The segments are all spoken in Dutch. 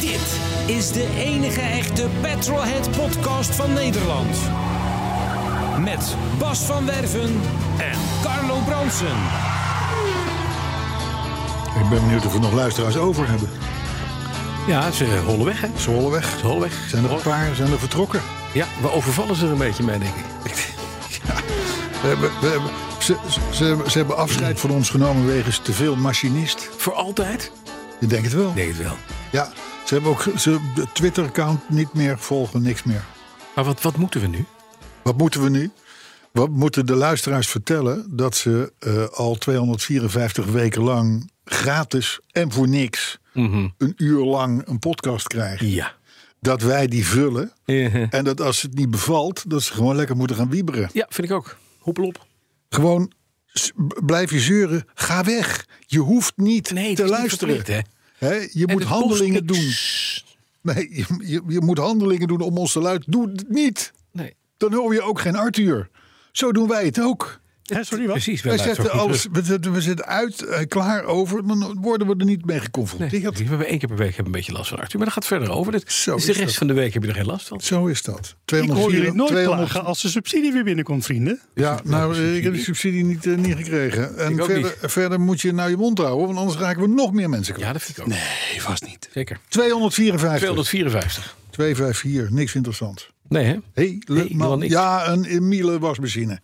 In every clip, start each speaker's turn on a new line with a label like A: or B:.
A: Dit is de enige echte Petrolhead podcast van Nederland. Met Bas van Werven en Carlo Bronsen.
B: Ik ben benieuwd of we nog luisteraars over hebben.
C: Ja, ze hollen weg, hè?
B: Ze hollen weg.
C: Ze hollen weg.
B: Zijn er een
C: Hollen-
B: paar, zijn er vertrokken.
C: Ja, we overvallen ze er een beetje mee, denk ik.
B: We hebben, we hebben, ze, ze- ze, hebben- ze hebben afscheid van ons genomen wegens te veel machinist.
C: Voor altijd?
B: Je denkt het wel.
C: Nee, het wel.
B: Ja, ze hebben ook ze, de Twitter-account niet meer volgen, niks meer.
C: Maar wat, wat moeten we nu?
B: Wat moeten we nu? Wat moeten de luisteraars vertellen dat ze eh, al 254 weken lang gratis en voor niks een uur lang een podcast krijgen?
C: Mhm. Ja.
B: Dat wij die vullen
C: Eh,
B: en dat als het niet bevalt, dat ze gewoon lekker moeten gaan wieberen.
C: Ja, vind ik ook. Hoepel op.
B: Gewoon s- b- blijf je zeuren, ga weg. Je hoeft niet
C: Nee, het
B: te
C: is niet
B: luisteren.
C: verplicht,
B: Hè, je
C: En
B: moet
C: het
B: handelingen
C: kost
B: doen.
C: niks.
B: Nee, je, je, je moet handelingen doen om ons te luisteren. Doe het niet.
C: Nee.
B: Dan hoor je ook geen Arthur. Zo doen wij het ook.
C: sorry, wat? Precies,
B: Wij
C: luisteren
B: zetten
C: ook
B: alles,
C: niet
B: we, zetten- we zitten uit, eh, klaar over. Dan worden we er niet mee
C: terug.
B: geconfronteerd.
C: Nee, we hebben één keer per week hebben we een beetje last van Arthur. Maar dat gaat verder over. Dit,
B: Zo
C: dus de
B: is
C: rest
B: dat.
C: van de week heb je er geen last van.
B: Zo is dat.
D: Ik hoor jullie nooit
B: 200
D: klagen als de subsidie weer binnenkomt, vrienden.
B: Ja, nou, eh, ik heb die subsidie niet, eh, niet gekregen. En
C: Ik ook
B: verder, verder moet je nou je mond houden, want anders raken we nog meer mensen kwijt.
C: Ja, dat vind ik ook. Nee.
D: Nee, vast niet.
C: Zeker.
B: 254.
C: 254.
B: 254, niks interessant.
C: Nee, hè?
B: Helemaal
C: helemaal
B: niks.
C: niks.
B: Ja, een Emiele wasmachine.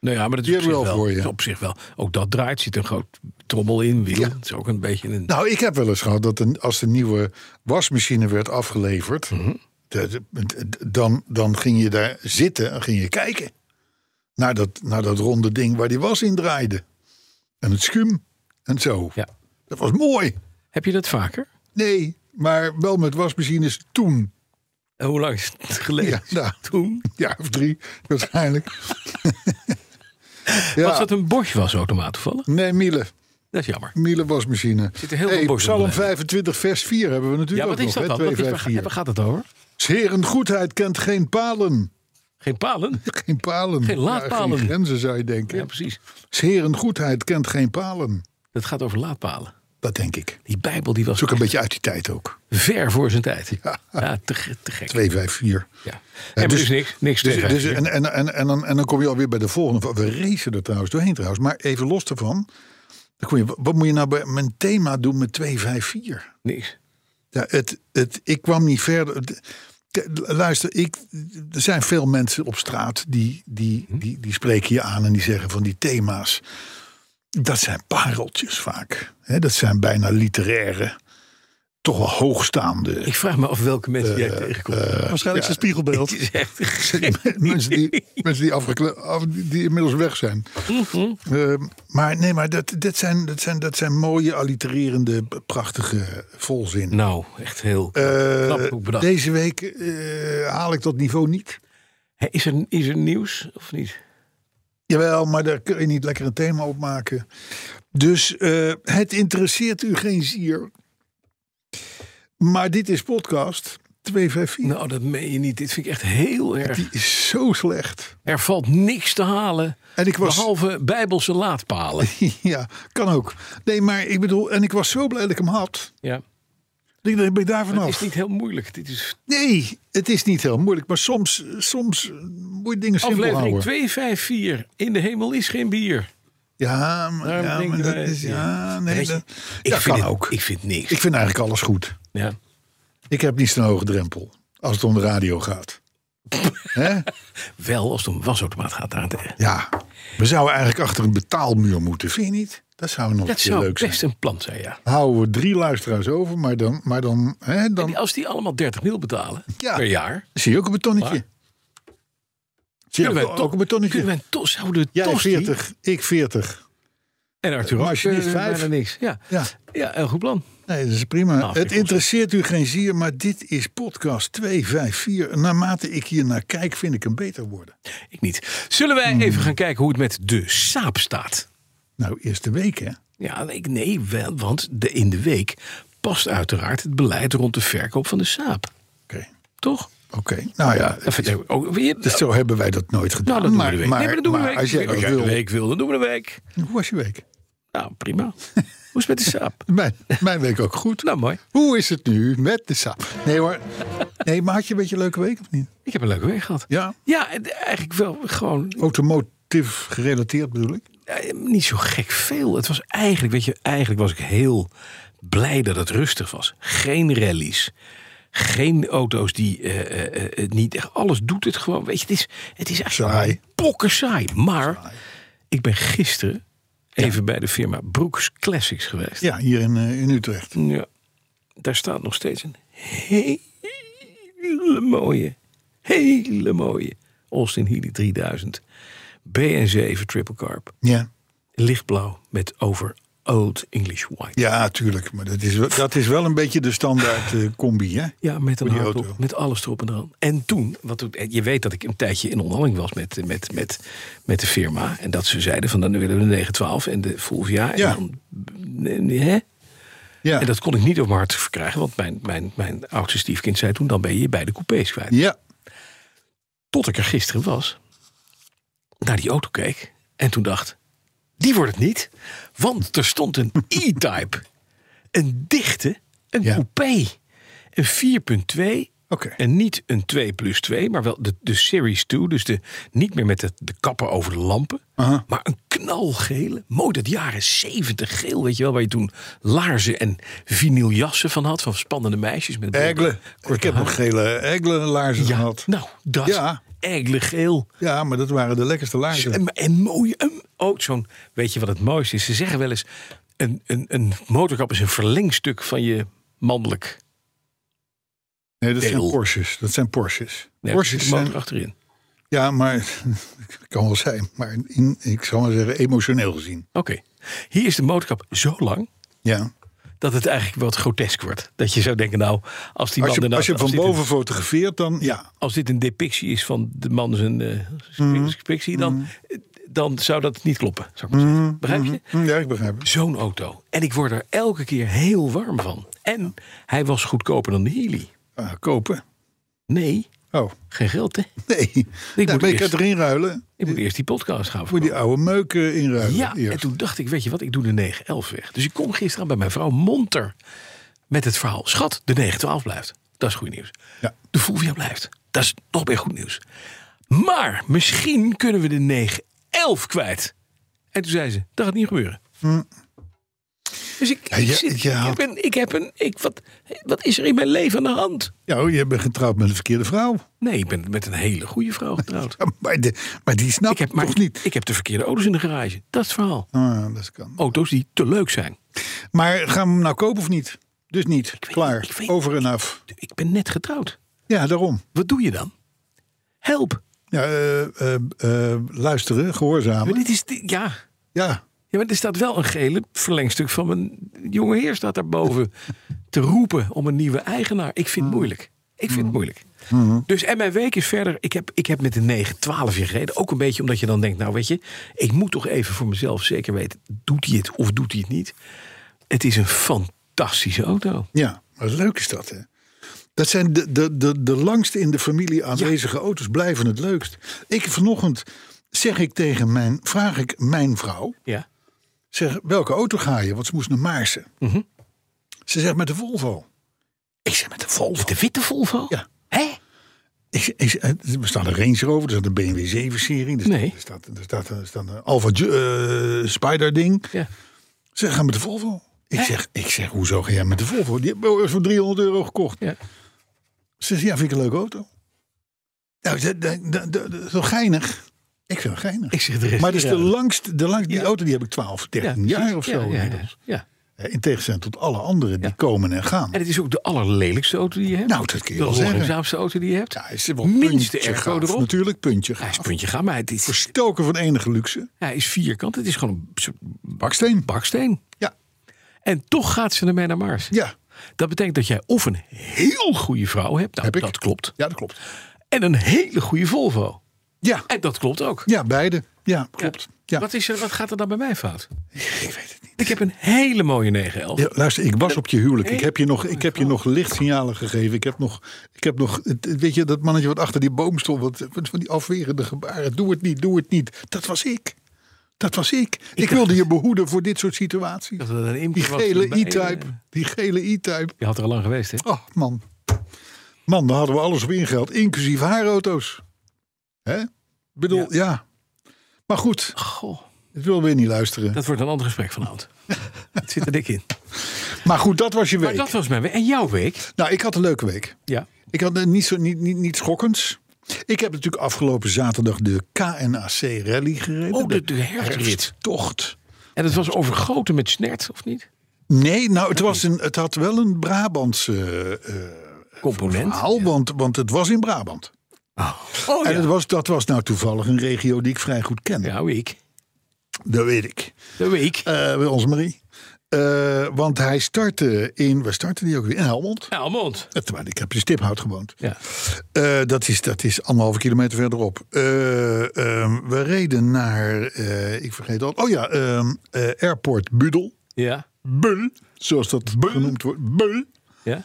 C: Nou ja, maar dat
B: Die
C: is op zich,
B: hebben we al
C: wel,
B: voor je.
C: dat is op zich wel. Ook dat draait. Zit een groot trommel in, wiel.
B: Ja.
C: Het is ook een beetje een...
B: Nou, ik heb wel eens gehad dat een, als de nieuwe wasmachine werd afgeleverd,
C: Mhm.
B: de- de- de- dan, dan ging je daar zitten en ging je kijken naar dat, naar dat ronde ding waar die was in draaide. En het schuim en zo.
C: Ja.
B: Dat was mooi.
C: Heb je dat vaker?
B: Nee, maar wel met wasmachines toen.
C: En hoe lang is het geleden?
B: Ja, nou,
C: Toen?
B: ja of drie waarschijnlijk. ja.
C: Was dat een Bosch was automaat toevallig?
B: Nee, Miele.
C: Dat is jammer.
B: Miele wasmachine.
C: Zit er heel veel boos
B: Psalm
C: onder.
B: 25, vers 4 hebben we
C: Ja,
B: natuurlijk
C: wat is
B: ook
C: dat
B: nog. hè,
C: dan? Wat is,
B: 2,
C: waar,
B: 5, 4.
C: waar gaat het over?
B: Zeren goedheid kent geen palen.
C: Geen palen?
B: Geen palen.
C: Geen laadpalen.
B: Ja, geen grenzen zou je denken.
C: Ja, precies.
B: Zeren goedheid kent geen palen.
C: Dat gaat over laadpalen.
B: Dat denk ik. Dat
C: Die Bijbel die was
B: is ook een beetje uit die tijd ook.
C: ver voor zijn tijd. Ja, te, ge- te gek.
B: 2, 5, 4.
C: Ja. En
B: dus-
C: dus, niks, niks
B: Dus,
C: tegen.
B: dus, en, en, en, en, dan, en dan kom je alweer bij de volgende. We racen er trouwens doorheen trouwens. Maar even los daarvan. Dan kom je, wat moet je nou bij mijn thema doen met 2, 5, 4?
C: niks.
B: Ja, het, het, ik kwam niet verder. Het- k- Luister, ik, er zijn veel mensen op straat die, die,
D: Hm?
B: die, die spreken je aan en die zeggen van die thema's. Dat zijn pareltjes vaak. Hè, dat zijn bijna literaire, toch wel hoogstaande.
C: Ik vraag me af welke mensen
B: Eh,
C: jij tegenkomt.
D: Waarschijnlijk zijn spiegelbeeld.
C: Het is echt
B: mensen die, mensen die, afgekle- af, die inmiddels weg zijn.
D: Mhm.
B: Ehm, maar nee, maar dat, dat, zijn, dat, zijn, dat zijn mooie, allitererende, prachtige volzin.
C: Nou, echt heel
B: Eh,
C: knap hoe bedacht.
B: deze week eh, haal ik dat niveau niet.
C: Hé, Is er, is er nieuws of niet?
B: Jawel, maar daar kun je niet lekker een thema op maken. Dus eh, het interesseert u geen zier. Maar dit is podcast 254.
C: Nou, dat meen je niet. Dit vind ik echt heel erg.
B: Die is zo slecht.
C: Er valt niks te halen.
B: En ik was.
C: Behalve bijbelse laadpalen.
B: Ja, kan ook. Nee, maar ik bedoel, en ik was zo blij dat ik hem had.
C: Ja.
B: Ik dacht, ben ik daar
C: Het is
B: vanaf.
C: niet heel moeilijk. Dit is
B: Nee, het is niet heel moeilijk. Maar soms, soms moet je dingen simpel
C: aflevering
B: houden.
C: 254. In de hemel is geen bier.
B: Ja, maar,
C: Daarom
B: ja,
C: denk
B: maar
C: ik
B: dat
C: bij-
B: is.
C: ja.
B: Ja, nee,
C: Weet je,
B: dat,
C: Ik
B: dat
C: vind
B: kan
C: het-
B: ook.
C: Ik vind niks.
B: Ik vind eigenlijk alles goed.
C: ja.
B: Ik heb niet zo'n hoge drempel als het om de radio gaat. Hè?
C: Wel als het om wasautomaat gaat. Daar.
B: Ja, we zouden eigenlijk achter een betaalmuur moeten, vind je niet? Dat zou nog
C: Dat
B: een keer
C: zou
B: leuk zijn.
C: best een plan zijn, ja.
B: Dan houden we drie luisteraars over, maar dan, maar dan, hè, dan
C: Als die allemaal 30 mil betalen
B: Ja.
C: per jaar.
B: zie je ook een betonnetje.
C: Waar?
B: Zie je
C: Kunnen
B: ook,
C: wij
B: ook
C: toch-
B: een betonnetje?
C: Kunnen we een tos houden?
B: Jij
C: tosti?
B: 40, ik 40.
C: En Arthur
B: Maar als je
C: ook,
B: niet
C: eh,
B: vijf-
C: bijna niks. Ja.
B: Ja.
C: ja, een goed plan.
B: Nee, dat is prima.
C: Nou, vind ik
B: het
C: wel
B: interesseert u geen zier, maar dit is podcast 254. Naarmate ik hier naar kijk, vind ik hem beter worden.
C: Ik niet. Zullen wij
B: Hmm.
C: even gaan kijken hoe het met de saap staat?
B: Nou, eerste week, hè?
C: Ja, ik, nee, wel, want de, in de week past uiteraard het beleid rond de verkoop van de saap.
B: Oké.
C: Toch?
B: Oké. Nou ja,
C: Dat vind ik ook weer.
B: dus zo hebben wij dat nooit gedaan.
C: nou, dat doen we
B: maar,
C: de week.
B: Maar,
C: nee, maar dat doen we
B: maar
C: de week.
B: als jij dat
C: Als jij de
B: wil.
C: week wil, dan doen we de week.
B: Hoe was je week?
C: Nou, prima. Hoe is het met de saap?
B: Mijn, mijn week ook goed.
C: Nou, mooi.
B: Hoe is het nu met de saap? Nee hoor. Nee, maar had je een beetje een leuke week of niet?
C: Ik heb een leuke week gehad.
B: Ja.
C: Ja, en eigenlijk wel gewoon
B: Automotief gerelateerd bedoel ik.
C: eh, niet zo gek veel. Het was eigenlijk, weet je, eigenlijk was ik heel blij dat het rustig was. Geen rallies. Geen auto's die eh, eh, eh, het niet echt alles doet het gewoon. Weet je, het is, het is eigenlijk
B: Saai.
C: pokken saai. Maar ik ben gisteren even bij de firma Brooks Classics geweest.
B: Ja, hier in, eh, in Utrecht.
C: Ja, daar staat nog steeds een hele mooie, hele mooie Austin Healey 3000 BN7 Triple Carb.
B: Ja.
C: Lichtblauw met over Old English White.
B: Ja, tuurlijk. Maar dat is, wel- dat is wel een beetje de standaard eh, combi, hè?
C: Ja, met een
B: Voor die
C: hardtop,
B: auto.
C: met alles erop en eraan. En toen, want toen- je weet dat ik een tijdje in onderhandeling was met, met, met, met de firma. En dat ze zeiden van, dan willen we de 912 en de Fulvia. En
B: Ja.
C: dan, nee, nee, hè?
B: Ja.
C: En dat kon ik niet op mijn hart verkrijgen, want mijn, mijn, mijn oudste stiefkind zei toen: dan ben je je beide coupés kwijt.
B: ja.
C: Tot ik er gisteren was, naar die auto keek en toen dacht: die wordt het niet, want er stond een E-Type, een dichte, een
B: Ja.
C: coupé, een 4.2.
B: Oké.
C: En niet een 2 plus 2, maar wel de, de Series 2. Dus de, niet meer met de, de kappen over de lampen.
B: Aha.
C: Maar een knalgele. Mooi dat jaren 70 geel, weet je wel. Waar je toen laarzen en vinyljassen van had. Van spannende meisjes met
B: Egle. Ik
C: korte
B: heb
C: haar.
B: nog gele egle laarzen
C: ja,
B: gehad.
C: Nou, dat.
B: Ja.
C: Ja. geel.
B: Ja, maar dat waren de lekkerste laarzen.
C: En, en mooi. En ook oh, zo'n, weet je wat het mooiste is? Ze zeggen wel eens, een, een, een motorkap is een verlengstuk van je mannelijk.
B: Nee, dat zijn
C: Deel.
B: Porsches. Dat zijn Porsches.
C: Nee,
B: Porsches
C: de motor
B: zijn...
C: achterin.
B: Ja, maar... kan wel zijn. Maar in, ik zal maar zeggen, emotioneel gezien.
C: Oké. Hier is de motorkap zo lang
B: Ja.
C: dat het eigenlijk wat grotesk wordt. Dat je zou denken, nou, als die man
B: Als je,
C: er nou-
B: als je van
C: dit een-
B: boven fotografeert, dan ja.
C: als dit een depictie is van de man zijn eh,
B: Mhm.
C: depictie, dan, dan zou dat niet kloppen. Zou ik maar zeggen. Begrijp je?
B: Hm, Ja, ik begrijp het.
C: Zo'n auto. En ik word er elke keer heel warm van. En hij was goedkoper dan de Healy.
B: Ah, kopen.
C: Nee,
B: Oh,
C: geen geld hè.
B: nee. Ik
C: moet
B: ben ik
C: eerst-
B: het erin ruilen.
C: Ik moet eerst die podcast gaan
B: Voor die oude meuken inruilen.
C: Ja,
B: eerst.
C: en toen dacht ik, weet je wat, ik doe de 911 weg. Dus ik kom gisteren aan bij mijn vrouw Monter met het verhaal. Schat, de 912 blijft. Dat is goed nieuws.
B: Ja.
C: De Fulvia blijft. Dat is nog meer goed nieuws. Maar misschien kunnen we de 911 kwijt. En toen zei ze, dat gaat niet gebeuren. Dus ik, ik,
B: Hm. je-
C: zit-
B: je
C: ik
B: had-
C: heb een, ik heb een ik, wat, wat is er in mijn leven aan de hand?
B: Ja, oh, je bent getrouwd met een verkeerde vrouw.
C: Nee, ik ben met een hele goede vrouw getrouwd.
B: Ja, Maar, de, maar die snapt
C: ik, heb,
B: toch
C: maar,
B: niet.
C: ik heb de verkeerde auto's in de garage. Dat is het verhaal.
B: Ah, dat kan.
C: Auto's die te leuk zijn.
B: Maar gaan we hem nou kopen of niet? Dus niet.
C: weet-
B: Klaar.
C: ik weet-
B: Over en af.
C: Ik ben net getrouwd.
B: Ja, daarom.
C: Wat doe je dan? Help.
B: Ja, eh, eh, eh, luisteren,
C: Maar
B: gehoorzamen.
C: dit is. di- Ja.
B: Ja,
C: ja, maar er staat wel een gele verlengstuk van mijn jonge heer staat daarboven te roepen om een nieuwe eigenaar. Ik vind het moeilijk. Ik vind het moeilijk. Dus en mijn week is verder. Ik heb, ik heb met de 9, 12 jaar gereden. Ook een beetje omdat je dan denkt, nou weet je, ik moet toch even voor mezelf zeker weten, doet hij het of doet hij het niet? Het is een fantastische auto.
B: ja. Maar leuk is dat, hè? Dat zijn de, de, de, de langst in de familie aanwezige auto's blijven het leukst. Ik vanochtend zeg ik tegen mijn, vraag ik mijn vrouw,
C: Ja.
B: zeg, welke auto ga je? Want ze moest naar Maarsen.
C: Mhm.
B: Ze zegt met de Volvo. Ik zeg met de Volvo.
C: De witte Volvo?
B: Ja.
C: Hè?
B: Ik, ik, eh, er staat een Range Rover, er staat een BMW 7-serie, er,
C: Nee.
B: staat, er, staat, er staat een Alfa Ju- eh, Spider-ding.
C: Ja.
B: Ze gaan met de Volvo. Ik
C: Hè?
B: zeg, ik zeg, hoezo ga jij met de Volvo? Die hebben we voor 300 euro gekocht.
C: Ja.
B: Ze zegt, ja, vind ik een leuke auto. Nou, dat- dat- dat- dat- dat is wel geinig. Ik vind het geinig.
C: Ik zeg de rest.
B: maar het is de
C: Ja.
B: langst, de langst, die auto die heb ik 12, 13 jaar of
C: precies.
B: zo
C: Ja, ja, ja,
B: inmiddels.
C: ja.
B: Hè, In tegenstelling tot alle anderen die komen en gaan.
C: En het is ook de allerlelijkste auto die je hebt.
B: Nou, dat kun je
C: de
B: wel zeggen.
C: langzaamste auto die je hebt.
B: Ja, hij is wel
C: Minste
B: puntje
C: airco
B: gaaf,
C: erop.
B: Natuurlijk, puntje
C: Hij is
B: gaaf.
C: puntje gaan, maar het is,
B: Verstoken van enige luxe.
C: hij is vierkant. Het is gewoon een soort
B: Baksteen.
C: baksteen.
B: Ja,
C: En toch gaat ze ermee naar Mars.
B: ja.
C: Dat betekent dat jij of een heel goede vrouw hebt. Nou,
B: Heb ik.
C: dat klopt.
B: ja dat klopt.
C: En een hele goede Volvo.
B: Ja,
C: En dat klopt ook.
B: ja beide. Ja, klopt. Ja.
C: Wat, is er, wat gaat er dan bij mij fout?
B: Ik weet het niet.
C: Ik heb een hele mooie 911.
B: Ja, luister, ik was op je huwelijk. Ik heb je nog, ik heb je nog lichtsignalen gegeven. Ik heb nog, ik heb nog, het- het- weet je, dat mannetje wat achter die boom stond, wat, wat van die afwerende gebaren. Doe het niet, doe het niet. Dat was ik. Dat was ik. Ik, wilde je behoeden voor dit soort situaties.
C: Dat het een imp
B: Die
C: was
B: gele
C: bij-
B: E-type, die gele E-type.
C: Je had er al lang geweest, hè?
B: Oh man, man, daar hadden we alles op ingehaald, inclusief haar auto's. Hè? Ik bedoel, ja. Maar goed,
C: Goh,
B: het wil weer niet luisteren.
C: dat wordt een ander gesprek vanavond. Het zit er dik in.
B: Maar goed, dat was je
C: Maar
B: week.
C: dat was mijn week. En jouw week?
B: Nou, ik had een leuke week.
C: Ja.
B: Ik had eh, niet, zo, niet, niet, niet schokkends. Ik heb natuurlijk afgelopen zaterdag de KNAC rally gereden.
C: Oh, de, de herfstrit.
B: herfsttocht.
C: En het was overgoten met snert, of niet?
B: Nee, nou, het, was een, het had wel een Brabantse eh,
C: Component.
B: verhaal, want, want het was in Brabant.
C: Oh,
B: En het was, dat was nou toevallig een regio die ik vrij goed ken.
C: Ja, week.
B: Dat weet ik.
C: De week.
B: Eh, bij ons Marie. Eh, want hij startte in, waar startte die ook weer? In Helmond.
C: Nou, mond.
B: Eh, Terwijl ik heb in Stiphout gewoond.
C: Ja.
B: Eh, dat, is, dat is anderhalve kilometer verderop. Eh, ehm, we reden naar, eh, ik vergeet al, oh ja, ehm, eh, Airport Budel.
C: Ja.
B: Bul, zoals dat genoemd wordt. Bul.
C: Ja.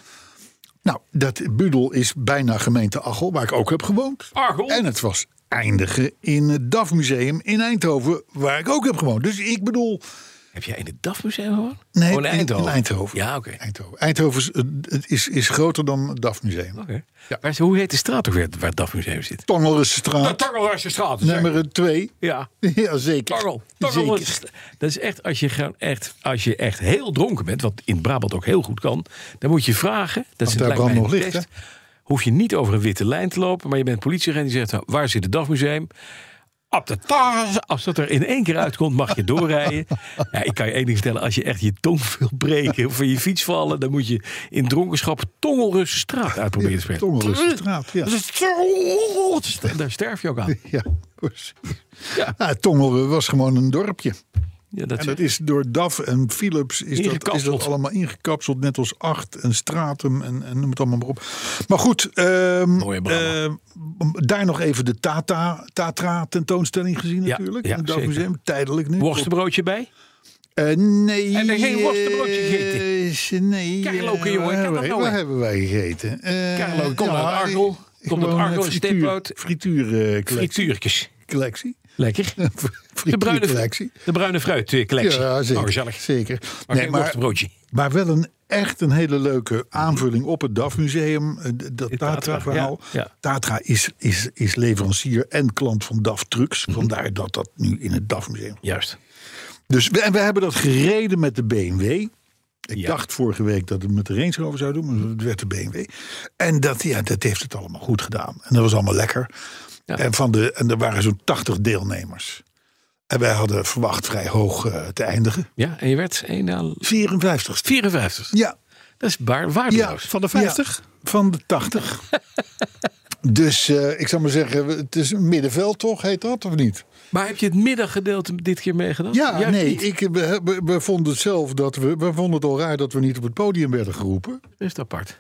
B: Nou, dat Budel is bijna gemeente Achel, waar ik ook heb gewoond.
C: Argel.
B: En het was eindigen in het DAF Museum in Eindhoven, waar ik ook heb gewoond. Dus ik bedoel,
C: Heb jij in het DAF-museum gewoon?
B: Nee,
C: oh, in
B: in-
C: Eindhoven.
B: in Eindhoven.
C: Ja, oké.
B: Eindhoven, Eindhoven is, eh, het is, is groter dan het DAF Museum.
C: Oké.
B: Ja.
C: Maar hoe heet de straat ook weer waar het DAF-museum zit?
B: Tangelstraat,
C: Tangelhuisje straat.
B: nummer 2.
C: Ja.
B: Ja, zeker.
C: Tarrel. Tarrel
B: zeker.
C: is, dat is echt als, je gewoon echt, als je echt heel dronken bent, wat in Brabant ook heel goed kan, dan moet je vragen. Dat is
B: daar
C: lijkt
B: brandt
C: mij
B: nog
C: een
B: licht,
C: test. Hoef je niet over een witte lijn te lopen, maar je bent politieagent die zegt: nou, waar zit het DAF-museum? Op de tarz. Als dat er in één keer uitkomt, mag je doorrijden. Ja, ik kan je één ding vertellen: als je echt je tong wil breken of van je fiets vallen, dan moet je in dronkenschap Tongelrusse straat uitproberen te spreken.
B: Tongelstraat, ja.
C: Daar sterf je ook aan.
B: Ja, precies.
C: Ja.
B: Nou, Tongeren was gewoon een dorpje.
C: Ja, dat
B: En
C: is-
B: dat is door DAF en Philips is dat, is
C: Ingekapseld.
B: dat allemaal ingekapseld. Net als Acht en Stratum en, en noem het allemaal maar op. Maar goed, ehm,
C: Mooie Brabant.
B: ehm, daar nog even de Tata, Tatra tentoonstelling gezien
C: Ja,
B: natuurlijk.
C: ja,
B: in het DAF
C: zeker.
B: Museum, tijdelijk nu.
C: Worstenbroodje bij?
B: Eh, nee.
C: En er geen worstenbroodje
B: gegeten? nee.
C: Kerloken,
B: eh,
C: jongen,
B: waar
C: kan
B: hebben
C: dat
B: wij-
C: nou
B: Waar
C: weer?
B: hebben wij gegeten? Eh,
C: Kerloken, komt uit Arkel.
B: ik-
C: Komt
B: gewoon,
C: uit
B: eh,
C: Arkel, een
B: frituur-
C: steekbrood.
B: Frituur, eh, collectie.
C: Frituurtjes.
B: collectie.
C: Lekker. De
B: Frituur
C: bruine,
B: collectie.
C: de bruine fruitcollectie.
B: Ja, zeker.
C: Oh, gezellig.
B: zeker.
C: Maar
B: nee,
C: geen
B: maar,
C: worstenbroodje.
B: maar wel een echt een hele leuke aanvulling op het DAF Museum. eh, d- Dat
C: Tatra,
B: Tatra-verhaal.
C: ja, ja.
B: Tatra is, is, is leverancier en klant van DAF Trucks.
C: Mhm.
B: Vandaar dat dat nu in het DAF Museum
C: Juist.
B: dus we, en we hebben dat gereden met de BMW. Ik
C: Ja.
B: dacht vorige week dat het met de Range Rover zou doen, maar het werd de BMW. En dat, ja, dat heeft het allemaal goed gedaan. En dat was allemaal lekker.
C: Ja.
B: En, van de, en er waren zo'n 80 deelnemers. En wij hadden verwacht vrij hoog eh, te eindigen.
C: Ja, en je werd 1 aan
B: 54.
C: 54.
B: Ja,
C: Dat is baar,
B: ja.
C: waardeloos.
D: Van de 50?
B: Ja, van de 80. dus eh, ik zou maar zeggen, het is een middenveld toch, heet dat of niet?
C: Maar heb je het middaggedeelte dit keer meegedaan?
B: Ja,
C: Juist
B: nee,
C: niet.
B: ik, we, we- we vonden het zelf dat we, we vonden het al raar dat we niet op het podium werden geroepen.
C: Dat is apart.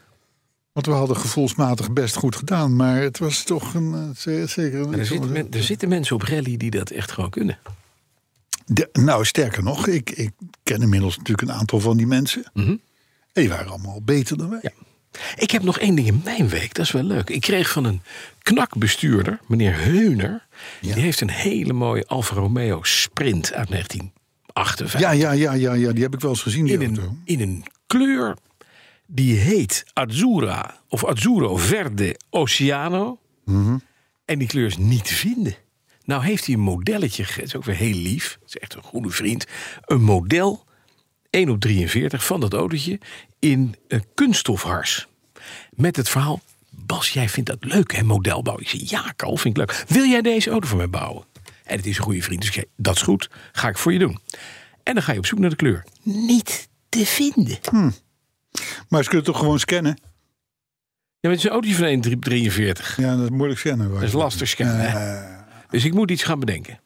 B: Want we hadden gevoelsmatig best goed gedaan, maar het was toch een, eh, ze- zeker een.
C: Er
B: ik zal maar
C: zitten, men-
B: zeggen-
C: er zitten mensen op rally die dat echt gewoon kunnen.
B: De- nou, sterker nog, ik, ik ken inmiddels natuurlijk een aantal van die mensen. En die waren allemaal beter dan wij.
C: Mhm. Ja. Ik heb nog één ding in mijn week, dat is wel leuk. Ik kreeg van een knakbestuurder, meneer Heuner. Die heeft een hele mooie Alfa Romeo Sprint uit 1958.
B: Ja, ja, ja, ja, ja, die heb ik wel eens gezien, die
C: in
B: auto.
C: een, in een kleur die heet Azura of Azzurro Verde Oceano.
B: Mhm.
C: En die kleur is niet te vinden. Nou heeft hij een modelletje, ge- het is ook weer heel lief, het is echt een goede vriend. Een model 1 op 43 van dat autootje in eh, kunststofhars. Met het verhaal, Bas, jij vindt dat leuk hè, modelbouw? Ik zei, ja Carl, vind ik leuk. Wil jij deze auto voor mij bouwen? En het is een goede vriend, dus ik zei, dat is goed, ga ik voor je doen. En dan ga je op zoek naar de kleur. Niet te vinden.
B: Hm. Maar ze kunnen toch gewoon scannen?
C: Ja, maar het is een autootje van 143.
B: Ja, dat is moeilijk scannen. hoor.
C: Dat is lastig scannen. hè?
B: Eh,
C: Dus ik moet iets gaan bedenken.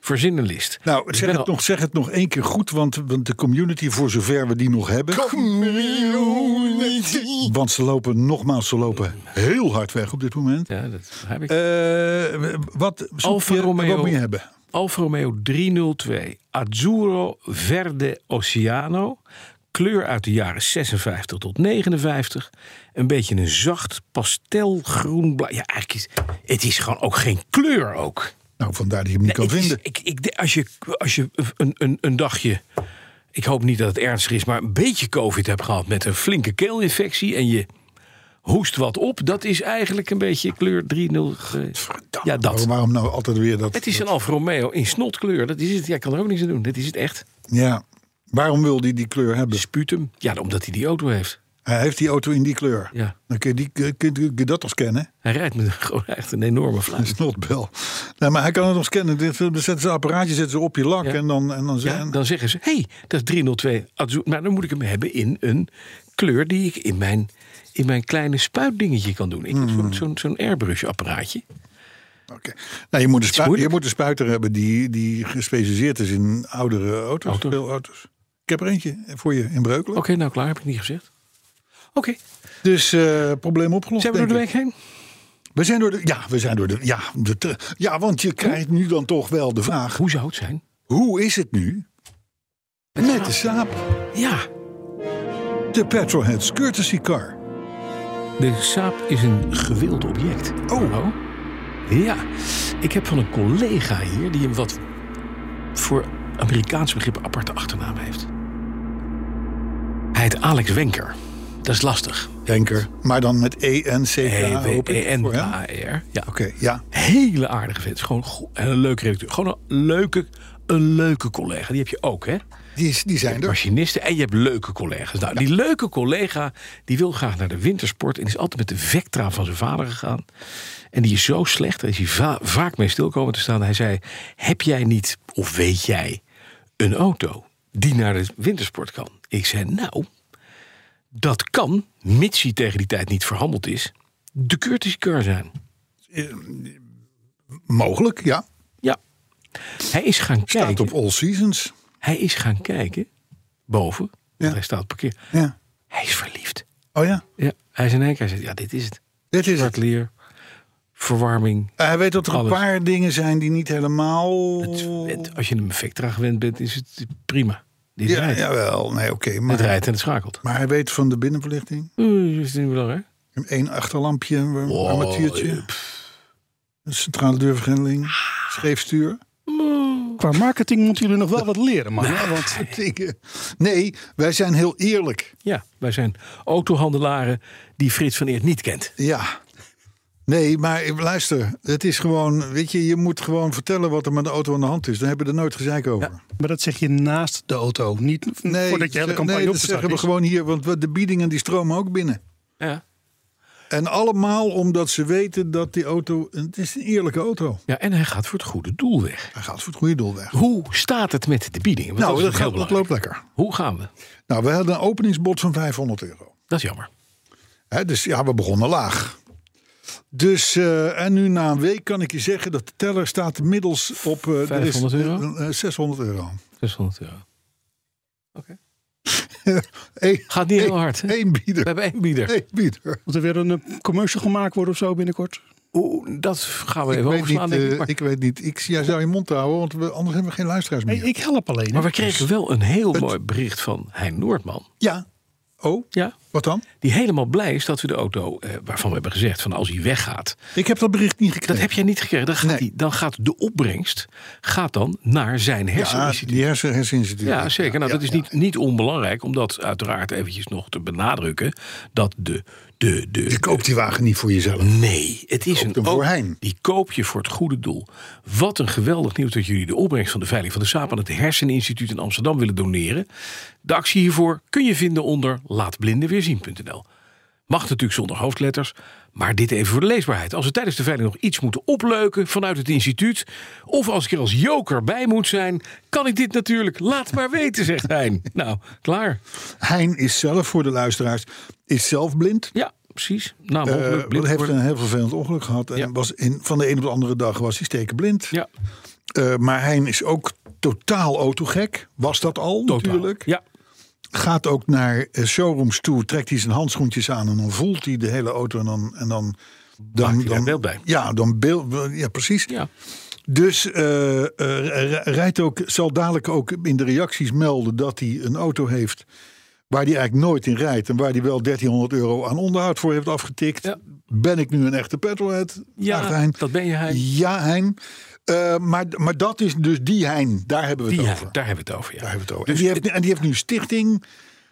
C: Verzin een list.
B: nou,
C: Ik
B: zeg
C: ben
B: het,
C: al-
B: nog, zeg het nog één keer goed, want, want de community, voor zover we die nog hebben. Want ze lopen, nogmaals, ze lopen heel hard weg op dit moment.
C: Ja, dat heb ik.
B: Eh, wat, zoek
C: Alfa
B: je-
C: Romeo.
B: wat moet je hebben?
C: Alfa Romeo 302 Azzurro Verde Oceano. Kleur uit de jaren 56 tot 59. Een beetje een zacht pastelgroen. bla- Ja, eigenlijk is het is gewoon ook geen kleur ook.
B: Nou, vandaar dat je hem niet
C: Nee,
B: kan
C: het is-
B: vinden.
C: ik, ik, denk, als je, als je een, een, een dagje, ik hoop niet dat het ernstig is, maar een beetje COVID hebt gehad met een flinke keelinfectie en je hoest wat op, dat is eigenlijk een beetje kleur 3-0. eh, Ja, dat.
B: Waarom, waarom nou altijd weer dat?
C: Het is een Alfa Romeo in snotkleur. Dat is het. Jij kan er ook niks aan doen. Dat is het echt.
B: Ja. Waarom wil hij die kleur hebben?
C: Spuut hem. Ja, omdat hij die auto heeft.
B: Hij heeft die auto in die kleur.
C: Ja.
B: Dan kun je, die, kun je- kun je dat toch scannen?
C: Hij rijdt met een- gewoon echt een enorme
B: Dat
C: fluit.
B: is notbel. Nee, maar hij kan het nog scannen. Dit- Dan zetten ze een apparaatje zetten ze op je lak.
C: Ja.
B: En dan, en dan
C: Ja,
B: zijn...
C: dan zeggen ze, hé, hey, dat is 302 Azu- Maar dan moet ik hem hebben in een kleur die ik in mijn, in mijn kleine spuitdingetje kan doen. Ik heb zo'n zo'n zo'n airbrush apparaatje.
B: Oké. nou, je, moet een spuit, je
C: moeilijk.
B: moet een spuiter hebben die, die gespecialiseerd is in oudere auto's.
C: Auto's.
B: Veel auto's. Ik heb er eentje voor je in Breukelen.
C: Oké, nou klaar, heb ik niet gezegd. Oké,
B: Dus eh, probleem opgelost.
C: zijn we door
B: denk
C: de
B: ik.
C: week heen?
B: We zijn door de... Ja, we zijn door de... Ja, de te- ja, want je krijgt nu dan toch wel de vraag.
C: Hoe zou het zijn?
B: Hoe is het nu met de Saab?
C: Ja,
B: De Petrolheads Courtesy Car.
C: de saap is een gewild object.
B: Oh,
C: Ja, ik heb van een collega hier die een wat voor Amerikaans begrip aparte achternaam heeft. Hij heet Alex Wenker. Dat is lastig. E
B: Denker. Maar dan met E E-N-C-K, hoop ik. voor hem. Oké,
C: E-W-E-N-K-R. Ja,
B: ja.
C: hele aardige vent. Is Gewoon go- en een leuke redacteur. Gewoon een leuke, een leuke collega. Die heb je ook, hè?
B: Die, is- die zijn er.
C: Machinisten en je hebt leuke collega's. Nou, die leuke collega die wil graag naar de wintersport en is altijd met de Vectra van zijn vader gegaan. En die is zo slecht, daar is hij va- vaak mee stil komen te staan. Hij zei: Heb jij niet, of weet jij, een auto die naar de wintersport kan? Ik zei: Nou, dat kan, mits hij tegen die tijd niet verhandeld is, de Curtis Keur zijn.
B: Mogelijk, ja.
C: Ja. Hij is gaan
B: Staat
C: kijken.
B: op All Seasons.
C: Hij is gaan kijken boven.
B: Ja.
C: want Hij staat op parkeer.
B: Ja.
C: Hij is verliefd.
B: Oh ja,
C: Ja. Hij is in één keer. Hij zegt, ja, dit is het.
B: dit is
C: Zwart
B: het.
C: leer, verwarming.
B: Eh, Hij weet dat er een
C: Alles.
B: paar dingen zijn die niet helemaal...
C: Het- het- als je hem Vectra gewend bent, is het prima. Dit
B: Ja,
C: rijdt.
B: jawel. Nee, oké.
C: Het
B: maar,
C: rijdt en het schakelt.
B: maar hij weet van de binnenverlichting.
C: Eh, is het niet belangrijk?
B: Eén achterlampje, een armatuurtje. Een centrale deurvergrendeling. Scheefstuur.
D: Qua marketing moeten jullie nog wel wat leren, man. hè, Want
B: Dat betekent- Nee, wij zijn heel eerlijk.
C: Ja, wij zijn autohandelaren die Frits van Eert niet kent.
B: Ja. Nee, maar luister, het is gewoon, weet je, je moet gewoon vertellen wat er met de auto aan de hand is. Daar hebben we er nooit gezeik over.
D: maar dat zeg je naast de auto. Niet
B: Nee,
D: voordat je hele
B: ze-
D: campagne
B: nee, dat
D: opgestart
B: zeggen we
D: is.
B: gewoon hier, want we- de biedingen die stromen ook binnen.
C: Ja.
B: En allemaal omdat ze weten dat die auto, het is een eerlijke auto.
C: ja, en hij gaat voor het goede doel weg.
B: Hij gaat voor het goede doel weg.
C: Hoe staat het met de biedingen? Want
B: nou,
C: is
B: dat,
C: ook heel
B: gaat, dat
C: belangrijk.
B: loopt lekker.
C: Hoe gaan we?
B: Nou, we hadden een openingsbod van 500 euro.
C: Dat is jammer.
B: Hè, dus ja, we begonnen laag. Dus, eh, en nu na een week kan ik je zeggen dat de teller staat inmiddels op... eh, er is,
C: 500 euro?
B: eh, eh, 600 euro.
C: 600 euro. Oké.
B: Eén-
C: Gaat niet heel
B: één-
C: hard, hè?
B: één
C: We
B: bieder.
C: hebben één bieder.
B: Eén bieder.
D: Moet er weer een eh, commercial gemaakt worden of zo binnenkort?
C: Oeh, dat gaan we
B: Ik
C: even
B: weet, niet,
C: overslaan. denk ik,
B: eh,
C: maar,
B: ik weet niet. Ik jij zou je mond houden, want we, anders hebben we geen luisteraars
D: Hey,
B: meer.
D: ik help alleen. hè.
C: maar we kregen wel een heel mooi bericht van Hein Noordman.
B: Ja. Oh,
C: Ja.
B: wat dan?
C: Die helemaal blij is dat we de auto, eh, waarvan we hebben gezegd van als hij weggaat.
B: Ik heb dat bericht niet gekregen.
C: Dat heb jij niet gekregen. Dan gaat,
B: Nee.
C: die, dan gaat de opbrengst gaat dan naar zijn
B: ja,
C: herseninstituut.
B: die hersen- herseninstituut.
C: Ja, zeker. Nou, dat is niet, niet onbelangrijk om dat uiteraard eventjes nog te benadrukken. Dat de. de, de,
B: Je koopt die wagen niet voor jezelf.
C: Nee, het is
B: koopt
C: een
B: hem voor
C: au-
B: Hein.
C: Die koop je voor het goede doel. Wat een geweldig nieuws dat jullie de opbrengst van de veiling van de Saap aan het Herseninstituut in Amsterdam willen doneren. De actie hiervoor kun je vinden onder laatblindenweerzien.nl. Mag natuurlijk zonder hoofdletters, maar dit even voor de leesbaarheid. Als we tijdens de veiling nog iets moeten opleuken vanuit het instituut... of als ik er als joker bij moet zijn, kan ik dit natuurlijk. Laat maar weten, zegt Hein. Nou, klaar.
B: Hein is zelf, voor de luisteraars, is zelf blind.
C: Ja, precies. Nou,
B: Eh,
C: mogelijk blind
B: heeft
C: worden.
B: een heel vervelend ongeluk gehad. En
C: Ja.
B: was in, van de ene op de andere dag was hij stekenblind.
C: Ja,
B: Eh, maar Hein is ook totaal autogek. Was dat al
C: totaal.
B: natuurlijk.
C: Ja,
B: Gaat ook naar eh, showrooms toe, trekt hij zijn handschoentjes aan... en dan voelt hij de hele auto en dan... En dan dan,
C: hij daar beeld bij.
B: Ja, dan beeld, ja, precies.
C: ja.
B: Dus eh, eh, r- r- rijdt ook, zal dadelijk ook in de reacties melden dat hij een auto heeft waar hij eigenlijk nooit in rijdt en waar hij wel 1300 euro aan onderhoud voor heeft afgetikt.
C: Ja.
B: Ben ik nu een echte petrolhead?
C: Ja,
B: Vraagt Hein.
C: dat ben je, Hein.
B: Ja, Hein. Eh, maar, maar dat is dus die Hein. Daar hebben we het
C: Die,
B: over.
C: daar hebben we het over. Ja.
B: Daar hebben we het over. en, die heeft, en die heeft nu een stichting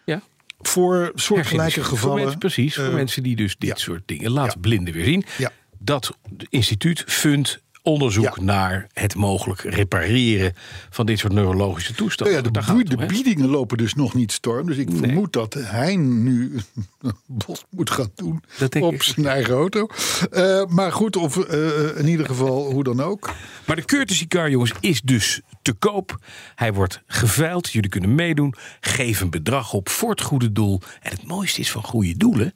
C: Ja.
B: voor soortgelijke
C: Herginningsgevallen. Voor
B: gevallen.
C: mensen, precies, voor
B: Eh,
C: mensen die dus dit
B: ja.
C: soort dingen laten
B: Ja.
C: blinden weer zien.
B: Ja.
C: Dat instituut fundt onderzoek
B: Ja.
C: naar het mogelijk repareren van dit soort neurologische
B: Nou
C: toestanden.
B: ja, de,
C: Daar gaat het
B: boe-
C: om,
B: de
C: hè?
B: biedingen lopen dus nog niet storm. Dus ik vermoed dat hij nu een bos moet gaan doen
C: Dat denk
B: op
C: ik.
B: zijn eigen auto. Eh, maar goed, of eh, in ieder geval hoe dan ook.
C: Maar de courtesy car, jongens, is dus te koop. Hij wordt geveild. Jullie kunnen meedoen. Geef een bedrag op voor het goede doel. En het mooiste is van goede doelen...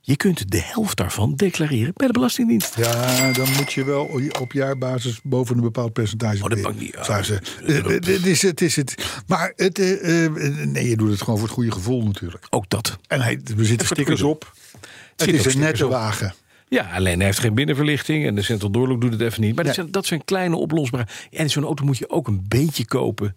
C: je kunt de helft daarvan declareren bij de Belastingdienst.
B: Ja, dan moet je wel op jaarbasis boven een bepaald percentage.
C: Oh, dat
B: weer-
C: mag niet.
B: zou ze- Eh, eh, Het is het. Is het. Maar het, eh, eh, nee, je doet het gewoon voor het goede gevoel natuurlijk.
C: Ook dat.
B: En hij, er zitten
C: het
B: stickers
C: goede
B: op. Het
C: zitten ook
B: is een
C: stickers
B: nette
C: op.
B: wagen.
C: Ja, alleen hij heeft geen binnenverlichting en de Central Doorloop doet het even niet. Maar dat,
B: Nee.
C: zijn, dat zijn kleine oplosbare. En zo'n auto moet je ook een beetje kopen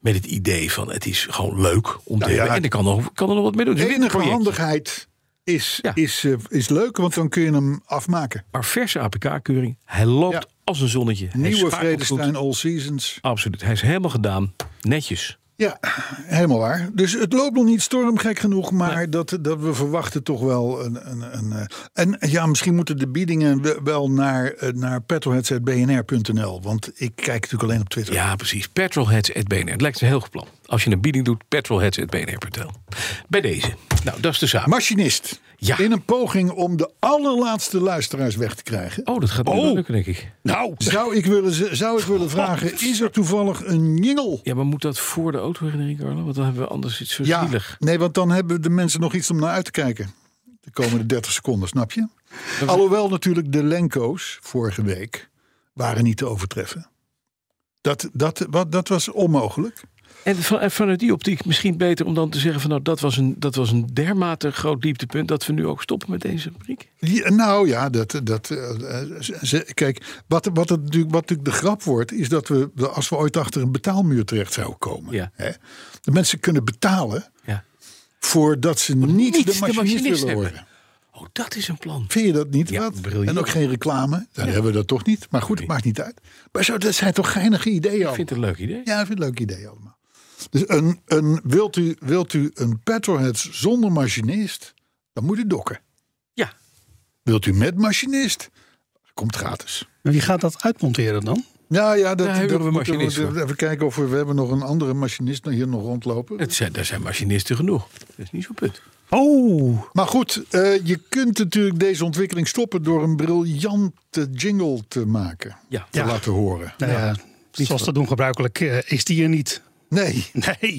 C: met het idee van het is gewoon leuk om te
B: Nou ja.
C: hebben. En ik kan er, kan er nog wat mee doen. Het
B: De
C: is een
B: enige
C: winproject.
B: handigheid is,
C: Ja.
B: is, eh, is leuk, want dan kun je hem afmaken.
C: Maar verse APK-keuring. Hij loopt
B: Ja.
C: als een zonnetje. Hij
B: Nieuwe
C: schakelt goed.
B: Vredestein All Seasons.
C: Absoluut. Hij is helemaal gedaan. Netjes.
B: Ja, helemaal waar. Dus het loopt nog niet storm, gek genoeg. Maar dat, dat we verwachten toch wel een... een, een eh, en ja, misschien moeten de biedingen we- wel naar, eh, naar petrolheads.bnr.nl. Want ik kijk natuurlijk alleen op Twitter.
C: Ja, precies. Petrolheads.bnr. Het lijkt een heel goed plan. Als je een bieding doet, petrolheads.bnr.nl. Bij deze. Nou, dat is de zaak.
B: Machinist.
C: Ja.
B: In een poging om de allerlaatste luisteraars weg te krijgen...
C: oh, dat gaat niet
B: Oh.
C: lukken, denk ik.
B: Nou, Oh. zou ik willen, ze- zou ik willen vragen, is er toevallig een jingle?
C: Ja, maar moet dat voor de auto herinnering, Carlo? Want dan hebben we anders iets zo zielig.
B: nee, want dan hebben de mensen nog iets om naar uit te kijken. De komende 30 seconden, snap je? Alhoewel natuurlijk de Lenko's vorige week waren niet te overtreffen. Dat, dat, wat, dat was onmogelijk.
C: En, van, en vanuit die optiek misschien beter om dan te zeggen van nou dat was een, dat was een dermate groot dieptepunt dat we nu ook stoppen met deze rubriek.
B: Ja, nou ja, dat, dat, eh, eh, ze- ze- kijk, wat, wat, het, natuurlijk- wat natuurlijk de grap wordt, is dat we, we- als we ooit achter een betaalmuur terecht zouden komen,
C: Ja.
B: hè, de mensen kunnen betalen
C: Ja.
B: voordat ze niet,
C: niet
B: de
C: de
B: machinist,
C: machinist
B: willen
C: hebben.
B: horen.
C: Oh, dat is een plan.
B: Vind je dat niet?
C: Ja,
B: wat?
C: briljant.
B: En ook geen reclame. Dan hebben we dat toch niet. Maar goed, het maakt niet uit. Maar zo, dat zijn toch geinige ideeën
C: Ik vind
B: allemaal.
C: het een leuk idee.
B: Ja, ik vind het leuk idee allemaal. Dus een, een, wilt, u, wilt u een petrolhead zonder machinist, dan moet u dokken.
C: Ja.
B: Wilt u met machinist, komt gratis.
D: En wie gaat dat uitmonteren dan?
B: Nou ja, dat,
C: Daar hebben
B: dat
C: we een
B: moeten
C: machinist
B: we- even kijken of we, we hebben nog een andere machinist hier nog rondlopen.
C: Het zijn, daar zijn machinisten genoeg. Dat is niet zo'n punt.
D: Oh,
B: Maar goed, eh, je kunt natuurlijk deze ontwikkeling stoppen door een briljante jingle te maken.
C: Ja.
B: Te
D: Ja.
B: laten horen.
D: nou ja, zoals dat ongebruikelijk eh, is die er niet.
B: Nee.
D: Nee,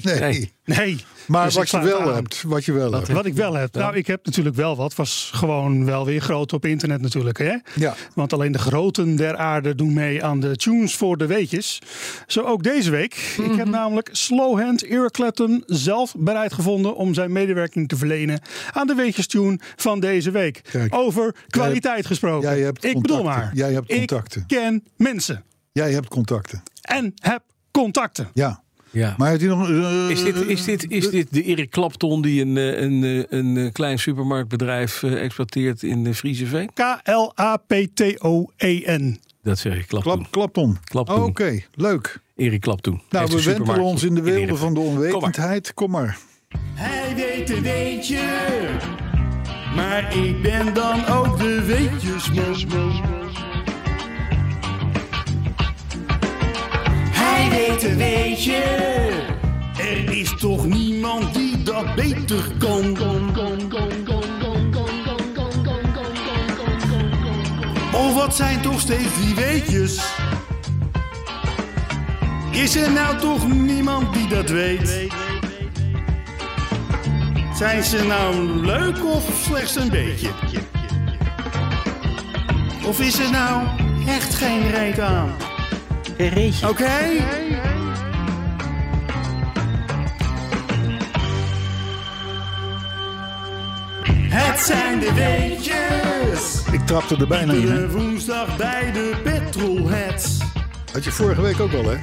B: Nee.
C: Nee.
D: nee.
B: Maar
D: Dus ik
B: wat je
D: sluit
B: wel
D: aan.
B: hebt, wat je wel hebt.
D: Wat ik wel heb, nou ik heb natuurlijk wel wat, was gewoon wel weer groot op internet natuurlijk. Hè?
B: Ja.
D: Want alleen de groten der aarde doen mee aan de tunes voor de weetjes. Zo ook deze week. Ik
B: Mhm.
D: heb namelijk Slowhand Eric Clapton zelf bereid gevonden om zijn medewerking te verlenen aan de weetjes tune van deze week.
B: Kijk.
D: Over kwaliteit gesproken.
B: jij hebt
D: ik bedoel
B: contacten.
D: maar,
B: Jij hebt
D: ik
B: contacten.
D: ken mensen
B: Jij hebt contacten.
D: en heb contacten.
B: Ja.
C: Ja.
B: Maar heeft hij nog. eh,
C: is, dit, is, dit, is dit de Erik Clapton die een, eh, een, eh, een eh, klein supermarktbedrijf eh, exploiteert in eh, Frieseveen?
D: K-L-A-P-T-O-E-N.
C: Dat zeg ik, Clapton.
B: Klap, klapton.
C: Clapton.
B: Oh, Oké, leuk.
C: Erik Clapton.
B: Nou, we wentelen ons in de werelden van de
C: Kom maar.
B: onwetendheid. Kom maar.
E: Hij weet een weetje, maar ik ben dan ook de weetjesmos. Hij weet een weetje, er is toch niemand die dat beter kan. Oh, wat zijn toch steeds die weetjes? Is er nou toch niemand die dat weet? Zijn ze nou leuk of slechts een beetje? Of is er nou echt geen reet aan? Oké? Het zijn de weetjes.
B: Ik trapte er bijna in. hè.
E: Iedere woensdag bij de Petrolheads.
B: Had je vorige week ook al, hè?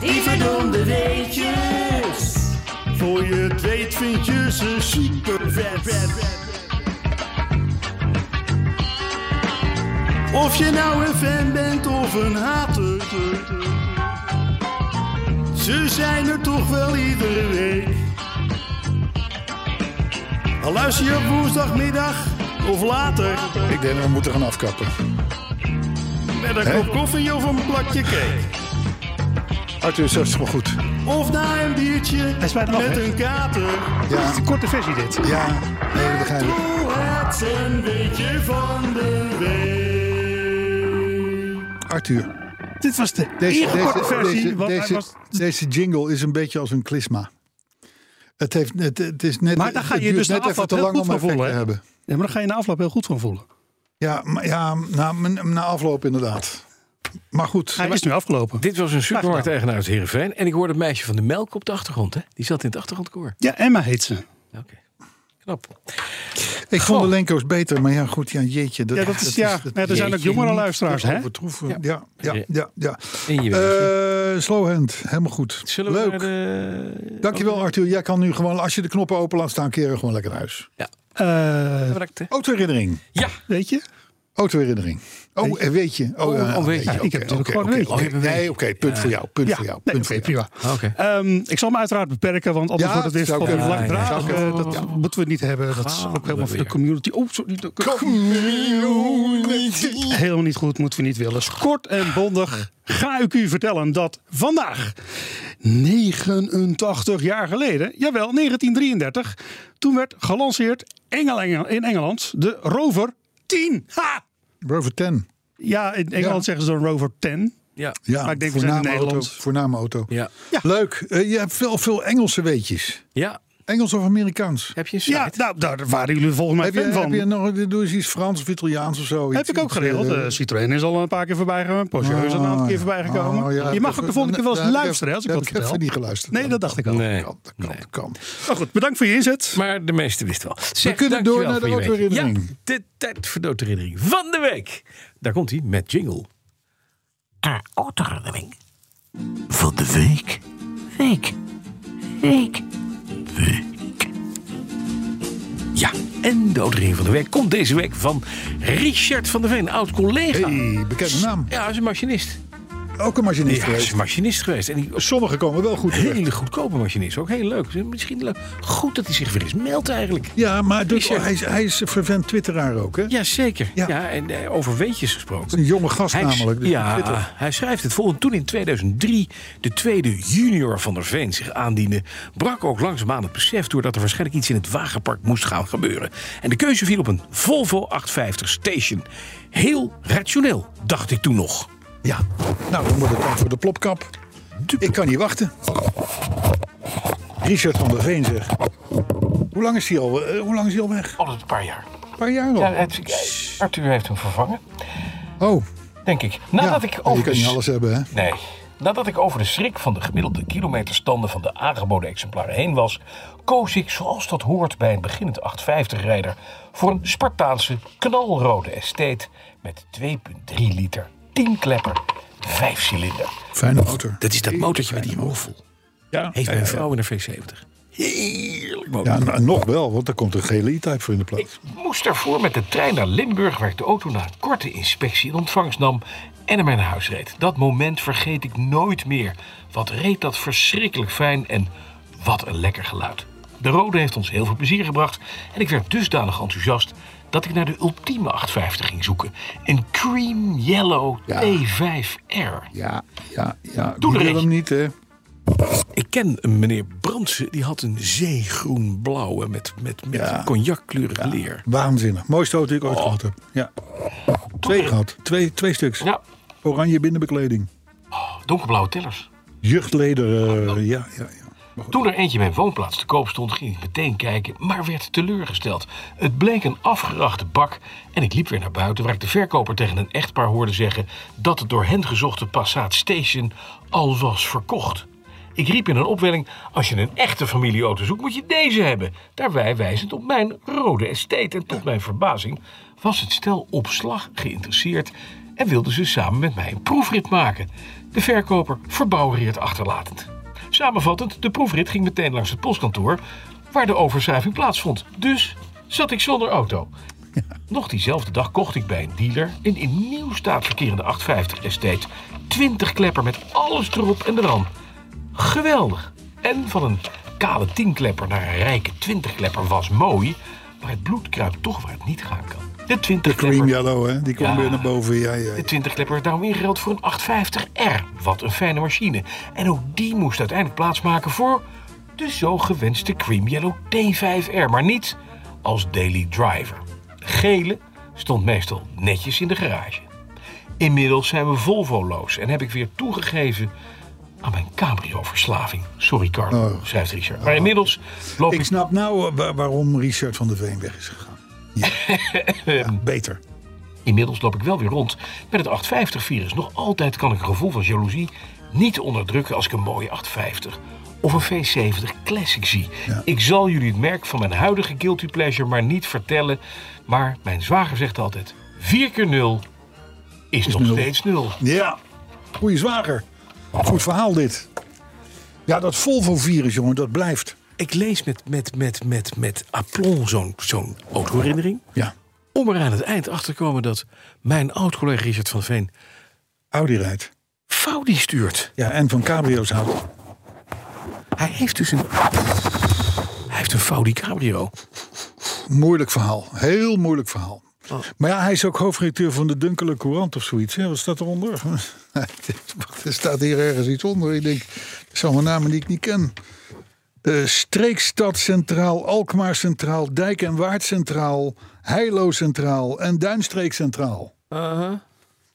E: Die verdomde weetjes. Voor je het weet vind je ze super vet. Of je nou een fan bent of een hater. Ze zijn er toch wel iedere week. Al luister je op woensdagmiddag of later.
B: Ik denk, we moeten gaan afkappen.
E: Met een kop koffie of een plakje cake.
B: Arthur, zo is het gewoon goed.
E: Of na een biertje
D: is bijna af,
E: met
D: hè?
E: een kater.
D: Dit
B: Ja,
D: is een korte versie dit.
B: ja. Nee, dat begrijp ik.
E: Hoe het een beetje van de week.
B: Arthur,
D: Dit was de
B: deze,
D: ingekorte
B: deze,
D: versie.
B: deze,
D: want hij
B: deze,
D: was-
B: deze jingle is een beetje als een klisma. Het, heeft, het, het is net,
D: Maar daar ga
B: het
D: je
B: duurt
D: dus na
B: net even
D: afloop
B: te
D: heel
B: lang
D: goed
B: om
D: van
B: effect te
D: voelen, hè?
B: hebben.
D: Ja, maar dan ga je na afloop heel goed van voelen.
B: Ja, maar, ja na, na afloop inderdaad. Maar goed,
D: Hij is nu afgelopen.
C: Dit was een
B: nou.
C: supermarkt-eigenaar uit Heerenveen. En ik hoorde het meisje van de melk op de achtergrond. Hè? Die zat in het achtergrondkoor.
D: Ja, Emma heet ze.
C: Oké. Knap.
B: ik vond
C: Goh.
B: de Lenko's beter. Maar ja, goed, ja, jeetje.
D: Ja, dat is, ja, ja, er zijn ook jongere luisteraars, hè?
B: overtroeven. Ja, ja, ja.
C: Ja.
B: ja, ja.
C: In je werk.
B: Eh, slowhand, helemaal goed.
C: Zullen we
B: Leuk.
C: naar de...
D: Oh.
B: Dankjewel Arthur. Jij kan nu gewoon, als je de knoppen open laat staan, keren we gewoon lekker naar huis.
D: Eh,
C: Bedankt.
B: Autoherinnering.
C: Ja.
D: weet je?
B: Autoherinnering. Oh, en weet je. Oh, ja,
C: oh, weet je.
B: Oké,
D: Ik heb
B: oké,
D: natuurlijk
B: oké,
D: gewoon een
B: oké.
D: weetje.
C: Oh, je hebt een
B: Nee, oké, punt voor jou. Punt
D: Ja,
B: voor jou.
D: nee,
B: Punt
D: oké,
B: voor jou.
D: prima.
C: Oké.
D: Ehm, ik zal me uiteraard beperken, want anders
B: Ja,
D: wordt het weer
B: zou
D: wat
B: kunnen.
D: langdradig.
B: Ja, ja,
D: Eh, dat moeten we niet hebben. Dat is ook helemaal voor de
C: weer.
D: community. Oh, sorry, de Helemaal niet goed, moeten we niet willen. Dus kort en bondig ga ik u vertellen dat vandaag, 89 jaar geleden, jawel, 1933, toen werd gelanceerd Engel, Engel, in Engeland de Rover 10. Ha!
B: Rover 10.
D: Ja, in Engeland
B: Ja.
D: zeggen ze dan Rover 10.
C: Ja.
B: Ja,
D: Maar ik denk, we zijn in
B: voorname auto.
D: Nederland.
B: Voorname auto.
C: Ja.
B: Leuk. Eh, je hebt veel, veel Engelse weetjes.
C: Ja.
B: Engels of Amerikaans?
C: Heb je een site?
D: Ja, nou, daar waren jullie volgens mij
B: Heb je,
D: fan
B: heb
D: van.
B: je nog doe eens iets Frans of Italiaans of zo?
D: Heb
B: Iets-
D: ik ook
B: iets,
D: geregeld.
B: eh,
D: Eh, Citroën is al een paar keer voorbij gegaan. Porsche is al een aantal keer voorbij gekomen.
B: Oh, ja,
D: je mag
B: dat-
D: ook de volgende keer wel eens
B: daar heb ik
D: luisteren hè, als ik
B: daar
D: dat
B: heb ik
D: vertel.
B: even niet geluisterd.
D: Nee, dat dacht ik al.
C: Nee.
B: Kan, dat kan, dat kan.
D: Maar goed, bedankt voor je inzet.
C: Maar de meeste wisten wel. Zeg,
B: kunnen
C: dankjewel
B: door naar de
C: voor je weetje.
B: autoherinnering.
C: Ja, de tijd voor de autoherinnering van de week. Daar komt hij met jingle.
F: de autoherinnering van de week. Week. Week.
C: Ja, en de autoherinnering van de week komt deze week van Richard van der Veen, oud-collega.
B: Hey, bekende naam.
C: Ja, hij is een machinist.
B: Ook een machinist
C: Ja, hij is
B: geweest.
C: een machinist geweest. En die
B: Sommigen komen wel goed terecht.
C: hele goedkope machinist. Ook heel leuk. Misschien leuk. Goed dat hij zich weer eens meldt eigenlijk.
B: Ja, maar dus,
C: Richard.
B: hij, is, hij is een vervent twitteraar ook, hè?
C: Jazeker.
B: Ja.
C: Ja, en eh, over weetjes
B: Een
C: gesproken.
B: jonge gast
C: Hij,
B: namelijk. dus op Twitter.
C: ja, hij schrijft het volgende. Toen in 2003 de tweede junior van der Veen zich aandiende... brak ook langzaamaan het besef... doordat er waarschijnlijk iets in het wagenpark moest gaan gebeuren. En de keuze viel op een Volvo 850 Station. Heel rationeel, dacht ik toen nog.
B: Ja. Nou, dan wordt het tijd voor de plopkap. Ik kan niet wachten. Richard van der Veen zeg. Hoe lang is hij al, eh, hoe lang is hij al weg?
C: Altijd een paar jaar.
B: Een paar jaar al.
C: Oh, Arthur heeft hem vervangen,
B: Oh,
C: denk ik. oh.
B: ja. je kan niet alles eh, hebben, hè?
C: Nee. Nadat ik over de schrik van de gemiddelde kilometerstanden van de aangeboden exemplaren heen was, koos ik, zoals dat hoort bij een beginnend 850-rijder, voor een Spartaanse knalrode estate met 2,3 liter, 10 klepper, 5 cilinder.
B: Fijne motor.
C: Dat is dat motortje met die hoofdvol.
B: Ja.
C: Heeft mijn vrouw in een V70. Heerlijk motor.
B: Ja, en nog wel, want daar komt een gele E-type voor in de plaats.
C: moest daarvoor met de trein naar Limburg, waar ik de auto na een korte inspectie in ontvangst nam en ermee naar huis reed. Dat moment vergeet ik nooit meer. Wat reed dat verschrikkelijk fijn en wat een lekker geluid. De Rode heeft ons heel veel plezier gebracht en ik werd dusdanig enthousiast dat ik naar de ultieme 850 ging zoeken. Een cream yellow
B: Ja.
C: T5R.
B: Ja, ja, ja.
C: Toen
B: Die wil
C: reed-
B: hem niet, hè?
G: Ik ken een meneer Brandsen, die had een zeegroen-blauwe met, met, met
B: Ja.
G: cognaccleurig leer.
B: Waanzinnig. Mooiste auto die
C: Oh.
B: ik ooit gehad heb. Ja. Twee gehad. Twee, twee stuks.
C: Ja,
B: Oranje binnenbekleding.
C: donkerblauwe tillers.
B: Jeugdleder.
C: Oh,
B: eh, ja, ja, ja.
C: Toen er eentje in mijn woonplaats te koop stond, ging ik meteen kijken, maar werd teleurgesteld. Het bleek een afgerachte bak en ik liep weer naar buiten, waar ik de verkoper tegen een echtpaar hoorde zeggen dat het door hen gezochte Passat Station al was verkocht. Ik riep in een opwelling: Als je een echte familieauto zoekt, moet je deze hebben. Daarbij wijzend op mijn rode estate. En tot mijn verbazing was het stel op slag geïnteresseerd en wilde ze samen met mij een proefrit maken. De verkoper verbouwereerd achterlatend. Samenvattend, de proefrit ging meteen langs het postkantoor waar de overschrijving plaatsvond. Dus zat ik zonder auto. Nog diezelfde dag kocht ik bij een dealer een in nieuw staat verkerende 850 Estate. 20 klepper met alles erop en eraan. Geweldig. En van een kale 10-klepper naar een rijke 20-klepper was mooi. Maar het bloed kruipt toch waar het niet gaan kan. De 20-klepper
B: Cream yellow, hè? Die kwam
C: Ja.
B: weer naar boven. Ja, ja, ja.
C: de 20 klepper werd daarom ingereld voor een 850R. Wat een fijne machine. En ook die moest uiteindelijk plaatsmaken voor de zo gewenste Cream Yellow T5R. Maar niet als daily driver. De gele stond meestal netjes in de garage. Inmiddels zijn we Volvoloos en heb ik weer toegegeven aan mijn cabrio-verslaving. Sorry, Carlo, schrijft Richard. Maar inmiddels loop ik
B: Ik snap nou eh, wa- waarom Richard van der Veen weg is gegaan. Ja. Ja, beter.
C: Inmiddels loop ik wel weer rond met het 850-virus. Nog altijd kan ik een gevoel van jaloezie niet onderdrukken als ik een mooie 850 of een V70 Classic zie. Ik zal jullie het merk van mijn huidige guilty pleasure maar niet vertellen. Maar mijn zwager zegt altijd, 4 keer 0 is, nog
B: nul.
C: steeds 0.
B: Ja. Goeie zwager. Goed verhaal dit. Ja, dat Volvo-virus, jongen, dat blijft.
G: Ik lees met, met, met, met, met aplomb zo'n zo'n autoherinnering.
B: Ja.
G: Om er aan het eind achter te komen dat mijn oud-collega Richard van Veen
B: Audi rijdt.
G: Faudi stuurt.
B: Ja, en van cabrio's houdt.
G: Hij heeft dus een... Hij heeft een Faudi cabrio.
B: Moeilijk verhaal. Heel moeilijk verhaal.
G: Oh.
B: Maar ja, hij is ook hoofdredacteur van de Dunkele Courant of zoiets. Hè? Wat staat eronder? Wacht, er staat hier ergens iets onder. Ik denk, dat zijn allemaal namen die ik niet ken. Eh, Streekstad Centraal, Alkmaar Centraal, Dijk en Waard Centraal, Heilo Centraal en Duinstreek Centraal.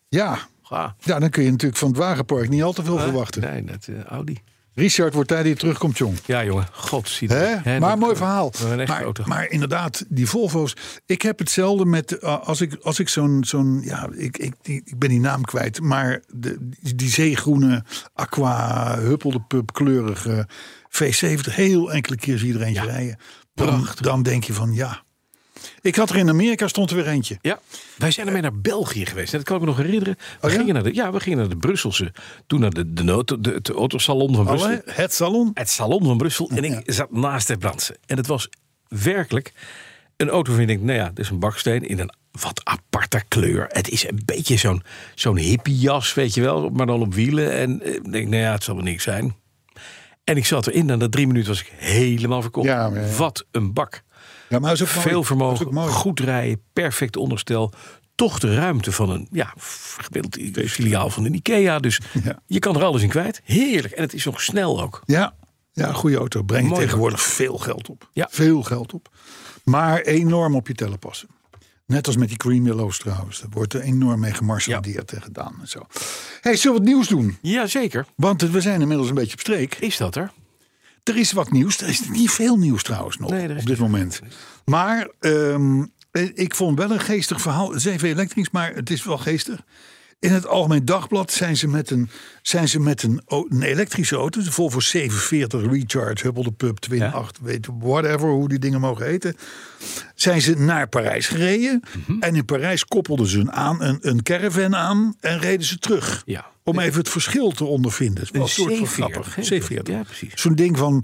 B: Ja.
G: Uh-huh. Ga.
B: ja, dan kun je natuurlijk van het Wagenpark niet al te veel verwachten.
G: Nee, dat eh, Audi.
B: Richard wordt tijd die terugkomt, jong.
G: Ja, jongen. God, zie
B: Hè?
G: dat. Hè,
B: maar
G: dat-
B: mooi verhaal.
G: Een echte
B: Maar,
G: auto.
B: maar inderdaad, die Volvo's. Ik heb hetzelfde met. eh, als ik, als ik zo'n. zo'n ja, ik, ik, die, ik ben die naam kwijt. Maar de, die, die zeegroene, aqua, huppeldepup kleurige V70. Heel enkele keer zie je er eentje rijden. Dan, dan denk je van ja. Ik had er in Amerika stond er weer eentje.
G: Ja, wij zijn ermee naar België geweest. Dat kan ik me nog herinneren. We,
B: Oh ja?
G: gingen, naar de, ja, we gingen naar de Brusselse. Toen naar de, de, auto- de, het autosalon
B: Oh,
G: van Brussel.
B: Alle, het salon.
G: Het salon van Brussel. En ik zat naast de Brandsen. En het was werkelijk een auto waarvan ik denk... Nou ja, dit is een baksteen in een wat aparte kleur. Het is een beetje zo'n zo'n hippiejas, weet je wel. Maar dan op wielen. En eh, ik denk, nou ja, het zal wel niks zijn. En ik zat erin. En na drie minuten was ik helemaal verkocht.
B: Ja, maar ja.
G: Wat een bak.
B: Ja, maar dat is ook
G: Veel
B: mooi. Dat is ook
G: vermogen,
B: mooi.
G: goed rijden, perfect onderstel. Toch de ruimte van een ja, gemiddeld i- filiaal van een IKEA. Dus
B: Ja.
G: je kan er alles in kwijt. Heerlijk. En het is nog snel ook.
B: Ja, ja goede auto. Brengt
G: Mooi.
B: tegenwoordig veel geld op.
G: Ja.
B: Veel geld op. Maar enorm op je tellen passen. Net als met die cream yellows trouwens. Daar wordt er enorm mee gemarchandeerd en gedaan en zo. hey, zullen we het nieuws doen?
G: Jazeker.
B: Want we zijn inmiddels een beetje op streek.
G: Is dat er?
B: Er is wat nieuws. Er is niet veel nieuws trouwens nog
G: Nee, er is
B: op dit moment. Maar ehm, eh, ik vond wel een geestig verhaal. Het is even elektrisch, maar het is wel geestig. In het Algemeen Dagblad zijn ze met een, zijn ze met een, o- een elektrische auto. De Volvo 740 Recharge, Hubble de Pub, Twin 8, weet whatever, hoe die dingen mogen heten. Zijn ze naar Parijs gereden.
G: Mhm.
B: En in Parijs koppelden ze een, aan, een, een caravan aan en reden ze terug.
G: Ja.
B: Om even het verschil te ondervinden. Het is wel een soort van grappig.
G: C40. Ja,
B: C40.
G: precies.
B: Zo'n ding van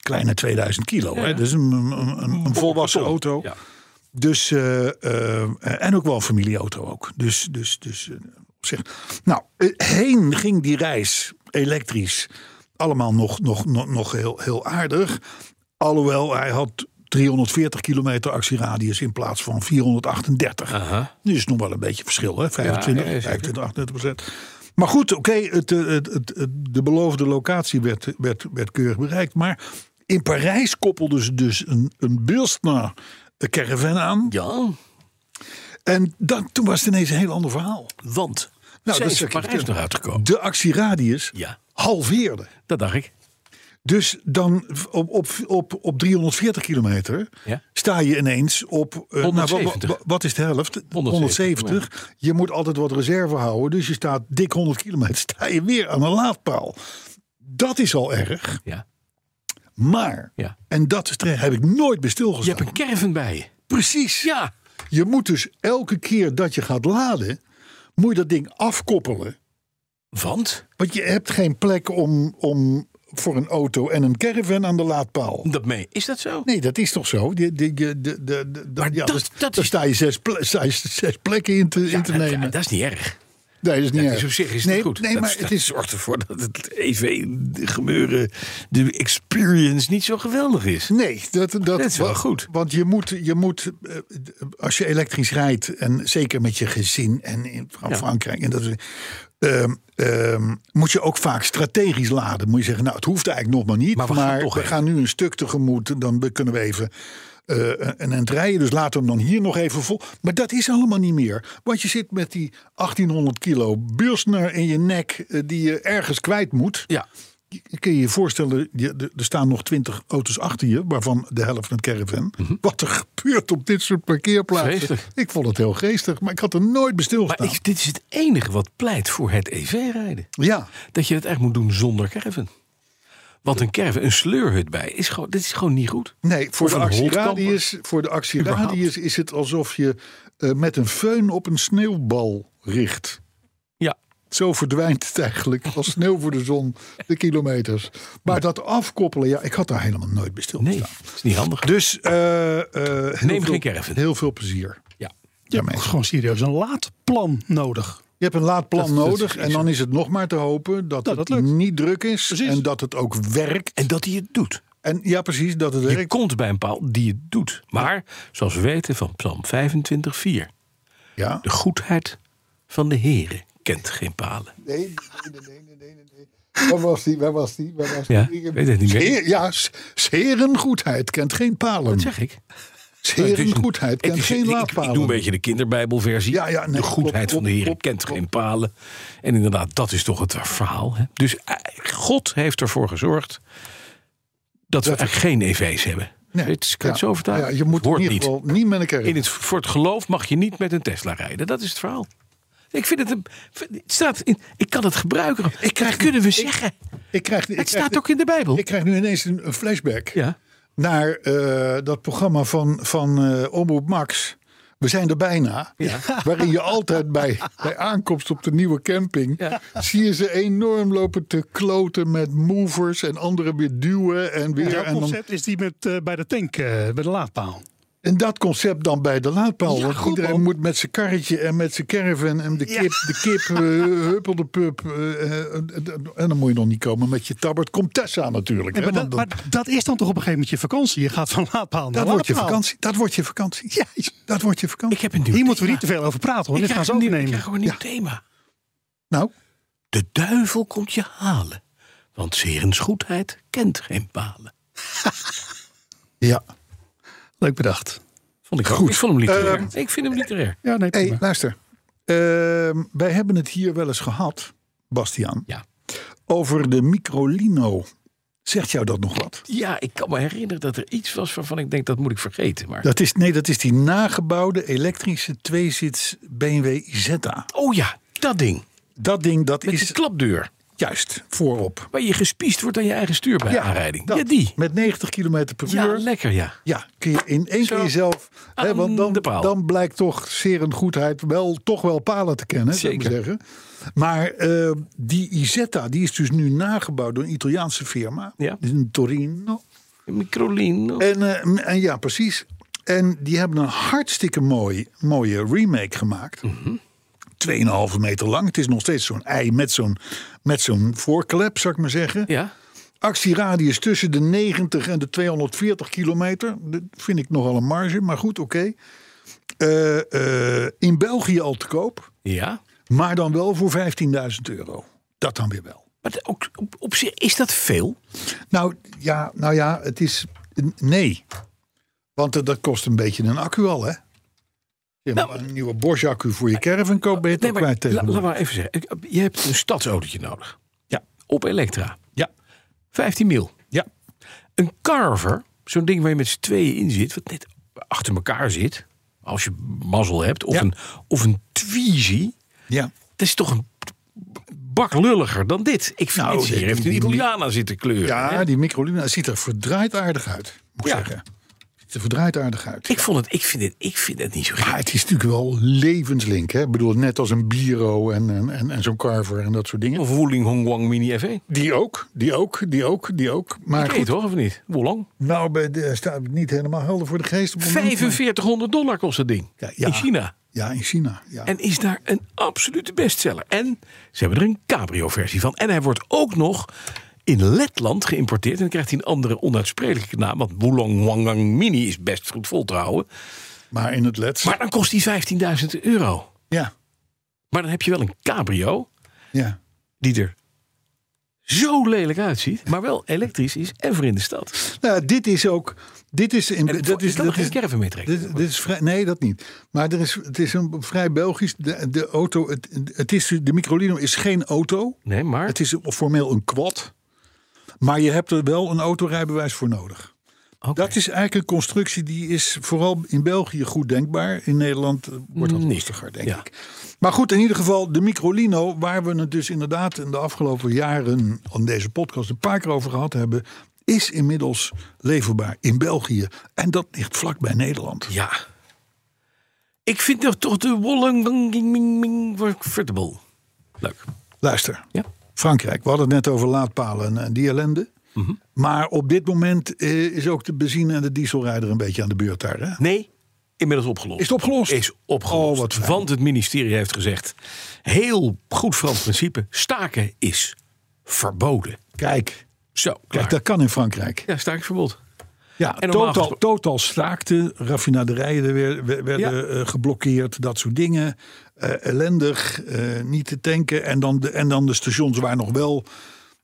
B: kleine 2000 kilo. Hè? Dus een, een, een, een volwassen auto.
G: Ja.
B: Dus, eh, eh, eh, en ook wel een familieauto ook. Dus, dus, dus eh, op zich. Nou, eh, heen ging die reis elektrisch. Allemaal nog, nog, nog, nog heel, heel aardig. Alhoewel hij had 340 kilometer actieradius in plaats van 438. Nu is nog wel een beetje verschil, hè? 25,
G: Ja, ja, zeker.
B: 25, 38 procent. Maar goed, oké, het, eh, het- het- het- de beloofde locatie werd, werd, werd keurig bereikt. Maar in Parijs koppelden ze dus een, een Bilsna caravan aan.
C: Ja,
B: En dan, toen was het ineens een heel ander verhaal.
C: want
B: Nou,
C: zij
B: dat
C: is
B: zou
C: in
B: ik je
C: Parijs nog
B: vertellen.
C: uitgekomen.
B: De actieradius
C: Ja.
B: halveerde.
C: Dat dacht ik.
B: Dus dan op, op, op, op 340 kilometer
C: Ja.
B: sta je ineens op. eh, nou, wa- wa-
C: 170.
B: wa- wat is de helft?
C: 170,
B: 170. Je moet altijd wat reserve houden. Dus je staat dik 100 kilometer. Sta je weer aan een laadpaal. Dat is al erg.
C: Ja.
B: Maar,
C: Ja.
B: en dat is terecht, heb ik nooit bij
C: Je
B: stilgestaan.
C: hebt een caravan bij je.
B: Precies.
C: Ja,
B: Je moet dus elke keer dat je gaat laden, moet je dat ding afkoppelen.
C: want
B: Want je hebt geen plek om, om voor een auto en een caravan aan de laadpaal.
C: dat mee. Is dat zo?
B: Nee, dat is toch zo? De, de, de, de, de, de-
C: Maar
B: ja,
C: dat-
B: dus-
C: dat
B: daar
C: is-
B: sta je zes, ple- sta je zes plekken in te, in te
C: Ja, dat-
B: nemen.
C: Dat, is niet erg.
B: nee, dat is niet
G: Dus
C: Dat
B: erg.
C: is op zich is
B: nee,
C: het goed.
B: Nee,
C: dat
B: maar
C: dat
B: het is...
C: zorgt ervoor dat het EV gebeuren, de experience niet zo geweldig is.
B: Nee, dat, dat,
C: is wel
B: wa-
C: goed.
B: Want je moet, je moet, eh, als je elektrisch rijdt, en zeker met je gezin en in Fran-
C: Ja.
B: Frankrijk, en dat, is- ehm, ehm, moet je ook vaak strategisch laden. Moet je zeggen, nou, het hoeft eigenlijk nog maar niet,
C: Maar
B: maar
C: we
B: we,
C: gaan
B: gaan,
C: toch even.
B: nu een stuk tegemoet, dan be- kunnen we even eh, een eind rijden. Dus laten we hem dan hier nog even vol. Maar dat is allemaal niet meer, want je zit met die 1800 kilo beursner in je nek, eh, die je ergens kwijt moet.
C: Ja,
B: Kun je je voorstellen, je- de- er staan nog twintig auto's achter je, waarvan de helft een caravan.
C: Mhm.
B: Wat er gebeurt op dit soort parkeerplaatsen.
C: Geestig.
B: Ik vond het heel geestig, maar ik had er nooit bij
C: maar
B: stilgestaan.
C: ik- dit is het enige wat pleit voor het EV-rijden.
B: Ja,
C: Dat je het echt moet doen zonder caravan. Want een caravan, een sleurhut bij, is gewoon, dit is gewoon niet goed.
B: nee, voor
C: Of
B: de,
C: een
B: actieradius, voor de actieradius is het alsof je eh, met een föhn op een sneeuwbal richt.
C: Ja,
B: Zo verdwijnt het eigenlijk als sneeuw voor de zon, de kilometers. Maar dat afkoppelen, ja, ik had daar helemaal nooit bij
C: nee,
B: stilgestaan.
C: dat is niet handig.
B: Dus eh, eh, heel
C: Neem
B: veel-
C: geen caravan.
B: Heel veel plezier.
C: Ja.
D: Je hebt ook gewoon serieus een laadplan nodig.
B: Je hebt een laadplan
C: Dat- dat
B: nodig
C: is- Nou,
B: en dan is het nog maar te hopen dat,
D: Dat
B: het
D: dat lukt.
B: niet druk is
D: Precies.
B: en dat het ook werkt.
C: En dat hij het doet.
B: En ja, precies, dat het
C: Je
B: werkt.
C: komt bij een paal die het doet. Maar, zoals we weten van Psalm 25, 4.
B: Ja.
C: De goedheid van de Heere kent geen palen.
B: Nee, nee, nee, nee, nee, nee. Waar was die? Waar was die? Waar was
C: Ja,
B: die?
C: weet het niet meer.
B: Zeer- ja, s- serengoedheid kent geen
C: Dat
B: palen.
C: zeg ik.
B: Serengoedheid
C: Het
B: kent
C: is-
B: geen
C: ik- Ik,
B: laadpalen.
C: doe een beetje de kinderbijbelversie.
B: Ja, ja, nee,
C: de
B: klopt,
C: goedheid van
B: klopt,
C: de Heer
B: klopt,
C: kent
B: klopt.
C: geen palen. En inderdaad, dat is toch het verhaal. Hè? Dus eh, God heeft ervoor gezorgd dat we eigenlijk geen EV's hebben.
B: Nee.
C: Het is- kan je het
B: Ja.
C: zo vertalen?
B: Ja, je moet in
C: Hoort
B: ieder
C: niet.
B: geval niet met een
C: In
B: kerk.
C: het, voor het geloof mag je niet met een Tesla rijden. Dat is het verhaal. Ik vind het een. Het staat in, ik kan het gebruiken. Ik krijg, kunnen we zeggen.
B: Ik krijg, ik
C: het
B: krijg-
C: staat ook in de Bijbel.
B: Ik krijg nu ineens een, een flashback
C: ja.
B: naar eh, dat programma van, van eh, Omroep Max. We zijn er bijna.
C: Ja.
B: Waarin je altijd bij, bij aankomst op de nieuwe camping. zie je ze enorm lopen te kloten met movers en anderen weer duwen. En, weer,
D: Jouw
B: en, dan,
D: concept is die met, eh, bij de tank, eh, bij de laadpaal.
B: en dat concept dan bij de laadpaal.
D: Ja,
B: want
D: goed,
B: iedereen
D: man.
B: moet met zijn karretje en met zijn caravan. en de kip, de kip eh, huppel de pup. eh, eh, en dan moet je nog niet komen met je tabbert. Komt Tessa natuurlijk.
D: Nee,
B: hè,
D: maar, dat,
B: want dan-
D: maar dat is dan toch op een gegeven moment je vakantie? Je gaat van laadpaal naar
B: dat wordt je
D: laadpaal.
B: vakantie. Dat wordt je vakantie. Ja, dat wordt je vakantie.
C: Ik heb een nieuw
D: Hier moeten we
C: thema.
D: niet te veel over praten, hoor.
C: Ik
D: Dit gaan
C: krijg
D: ze
C: een nieuw- Ik
D: overnemen.
C: krijg gewoon een nieuw thema.
B: Nou,
C: De duivel komt je halen. Want Serens goedheid kent geen palen.
B: ja.
D: Leuk bedacht.
C: Vond ik
B: Goed.
C: Ik vond hem literair.
B: Ehm,
C: ik vind hem literair.
D: Ja, nee,
B: Hé,
D: prima.
B: luister. Ehm, wij hebben het hier wel eens gehad, Bastiaan.
C: Ja.
B: Over de microlino. Zegt jou dat nog wat?
C: Ja, ik kan me herinneren dat er iets was waarvan ik denk dat moet ik vergeten. Maar...
B: Dat is, nee, dat is die nagebouwde elektrische tweezits BMW Zeta.
C: Oh ja, dat ding.
B: Dat ding, dat
C: Met
B: is
C: die klapdeur.
B: juist voorop.
C: Waar je gespiesd wordt aan je eigen stuur bij aanrijding.
B: dat.
C: Ja, die.
B: Met 90 km per
C: Ja,
B: uur.
C: lekker ja.
B: Ja, kun je in één
C: Zo,
B: keer zelf. Hè,
C: aan
B: want dan,
C: de paal.
B: dan blijkt toch zeer een goedheid wel, toch wel palen te kennen, zou ik maar
C: Zeker.
B: zeggen. Maar eh, die Isetta, die is dus nu nagebouwd door een Italiaanse firma.
C: Ja.
B: In Torino.
C: Microlin.
B: En, eh, m- en ja, precies. En die hebben een hartstikke mooi, mooie remake gemaakt.
C: Mhm.
B: 2,5 meter lang. Het is nog steeds zo'n ei met zo'n, met zo'n voorklep, zou ik maar zeggen.
C: Ja.
B: Actieradius tussen de 90 en de 240 kilometer. Dat vind ik nogal een marge, maar goed, oké. Eh, eh, in België al te koop.
C: Ja.
B: Maar dan wel voor 15.000 euro. Dat dan weer wel.
C: Maar dat ook, op, op zich, is dat veel?
B: Nou ja, nou ja het is. n- Nee. Want eh, dat kost een beetje een accu al, hè? Je
C: Nou,
B: een nieuwe Bosch-accu voor je caravan koop, ben je toch
C: maar
B: kwijt
C: la- laat
B: tegenwoordig.
C: maar even zeggen. Ik- eh, Je hebt een stadsautootje nodig.
B: Ja.
C: Op elektra.
B: Ja.
C: 15 mil.
B: Ja.
C: Een carver, zo'n ding waar je met z'n tweeën in zit, wat net achter elkaar zit, als je mazzel hebt, of
B: Ja.
C: een, of een Twizy,
B: ja.
C: dat is toch een bak lulliger dan dit. Ik vind
B: Nou,
C: dit hier
B: die-
C: heeft een
B: die-
C: Italiana zitten kleuren. hè?
B: Ja, die microlina ziet er verdraaid aardig uit, moet ik
C: Ja.
B: zeggen. Ziet er verdraaid aardig uit.
C: Ik, vond het, ik, vind het, ik vind het niet zo
B: Maar
C: gek.
B: Ah, het is natuurlijk wel levenslink, hè? Ik bedoel, net als een bureau en, en, en, en zo'n carver en dat soort dingen.
C: Of Woeling Hongwang Mini FE.
B: Die ook, die ook, die ook, die ook. Maar
C: Ik weet
B: goed,
C: toch, of niet? Hoe lang?
B: nou bij de, staat het niet helemaal helder voor de geest. Op het moment, maar-
C: 4500 dollar kost dat ding.
B: Ja, ja.
C: In China.
B: Ja, in China. Ja.
C: En is daar een absolute bestseller. En ze hebben er een cabrio-versie van. En hij wordt ook nog in Letland geïmporteerd. En dan krijgt hij een andere onuitsprekelijke naam. Want Wulong Wangang Mini is best goed vol te houden.
B: maar in het Lets.
C: Maar dan kost hij 15.000 euro.
B: Ja,
C: Maar dan heb je wel een cabrio
B: ja.
C: die er zo lelijk uitziet. Maar wel elektrisch is en voor in de stad.
B: Nou, dit is ook. Dit is in,
C: En het-
B: dat
C: je
B: is,
C: kan
B: dat
C: er
B: is,
C: geen caravan mee trekken.
B: dit, dit is vrij, nee, dat niet. Maar er is, het is een vrij Belgisch. De, de auto. Het, het is, de Microlino is geen auto.
C: Nee, maar...
B: Het is formeel een quad. Maar je hebt er wel een autorijbewijs voor nodig.
C: Oké.
B: Dat is eigenlijk een constructie die is vooral in België goed denkbaar. In Nederland eh, wordt dat
C: Niet.
B: lastiger, denk
C: Mm. Ja.
B: ik. Maar goed, in ieder geval de Microlino, waar we het dus inderdaad in de afgelopen jaren aan deze podcast een paar keer over gehad hebben, is inmiddels leverbaar in België. En dat ligt vlakbij Nederland.
C: Ja. Ik vind dat toch de Wollengang comfortable. Leuk.
B: Luister,
C: Ja.
B: Frankrijk, we hadden het net over laadpalen en eh, die ellende.
C: Mhm.
B: Maar op dit moment eh, is ook de benzine- en de dieselrijder een beetje aan de beurt daar. Hè?
C: Nee, inmiddels opgelost.
B: Is het opgelost?
C: Is opgelost.
B: Oh, wat fijn.
C: Want het ministerie heeft gezegd, heel goed Frans principe, staken is verboden.
B: Kijk,
C: Zo, klaar.
B: kijk, dat kan in Frankrijk.
C: Ja, stakingsverbod.
B: Ja,
C: En normaal
B: totaal,
C: gesproken-
B: totaal staakte. Raffinaderijen wer- wer- werden
C: Ja.
B: eh, geblokkeerd. Dat soort dingen. Eh, ellendig. eh, niet te tanken. En dan, de, en dan de stations waar nog wel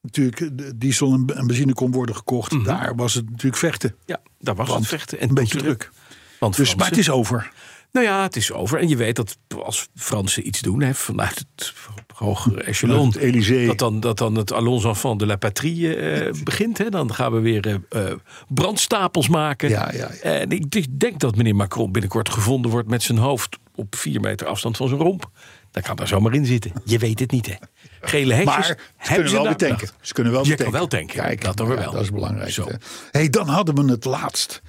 B: natuurlijk de diesel en, en benzine kon worden gekocht. Daar was het natuurlijk vechten.
C: Mhm. Ja, daar was het vechten. En
B: een beetje
C: cultureel.
B: druk.
C: Want
B: Dus, maar
C: Fransen-
B: het is over.
C: Nou ja, het is over. En je weet dat als Fransen iets doen hè, vanuit het hogere echelon...
B: het Élysée.
C: Dat dan, dat dan het Allons enfants de la patrie eh, begint. Hè. Dan gaan we weer eh, eh, brandstapels maken.
B: Ja, ja, ja.
C: En ik, ik denk dat meneer Macron binnenkort gevonden wordt... met zijn hoofd op vier meter afstand van zijn romp. Dat kan daar zomaar in zitten. Je weet het niet, hè. Gele hekjes
B: Maar ze
C: hebben
B: kunnen wel
C: daar
B: betanken.
C: bedacht.
B: Ze kunnen wel
C: Je
B: betanken.
C: kan wel tanken.
B: Kijk,
C: dat dan weer
B: ja,
C: wel.
B: Dat is belangrijk.
C: Zo.
B: hè. hey, dan hadden we het laatst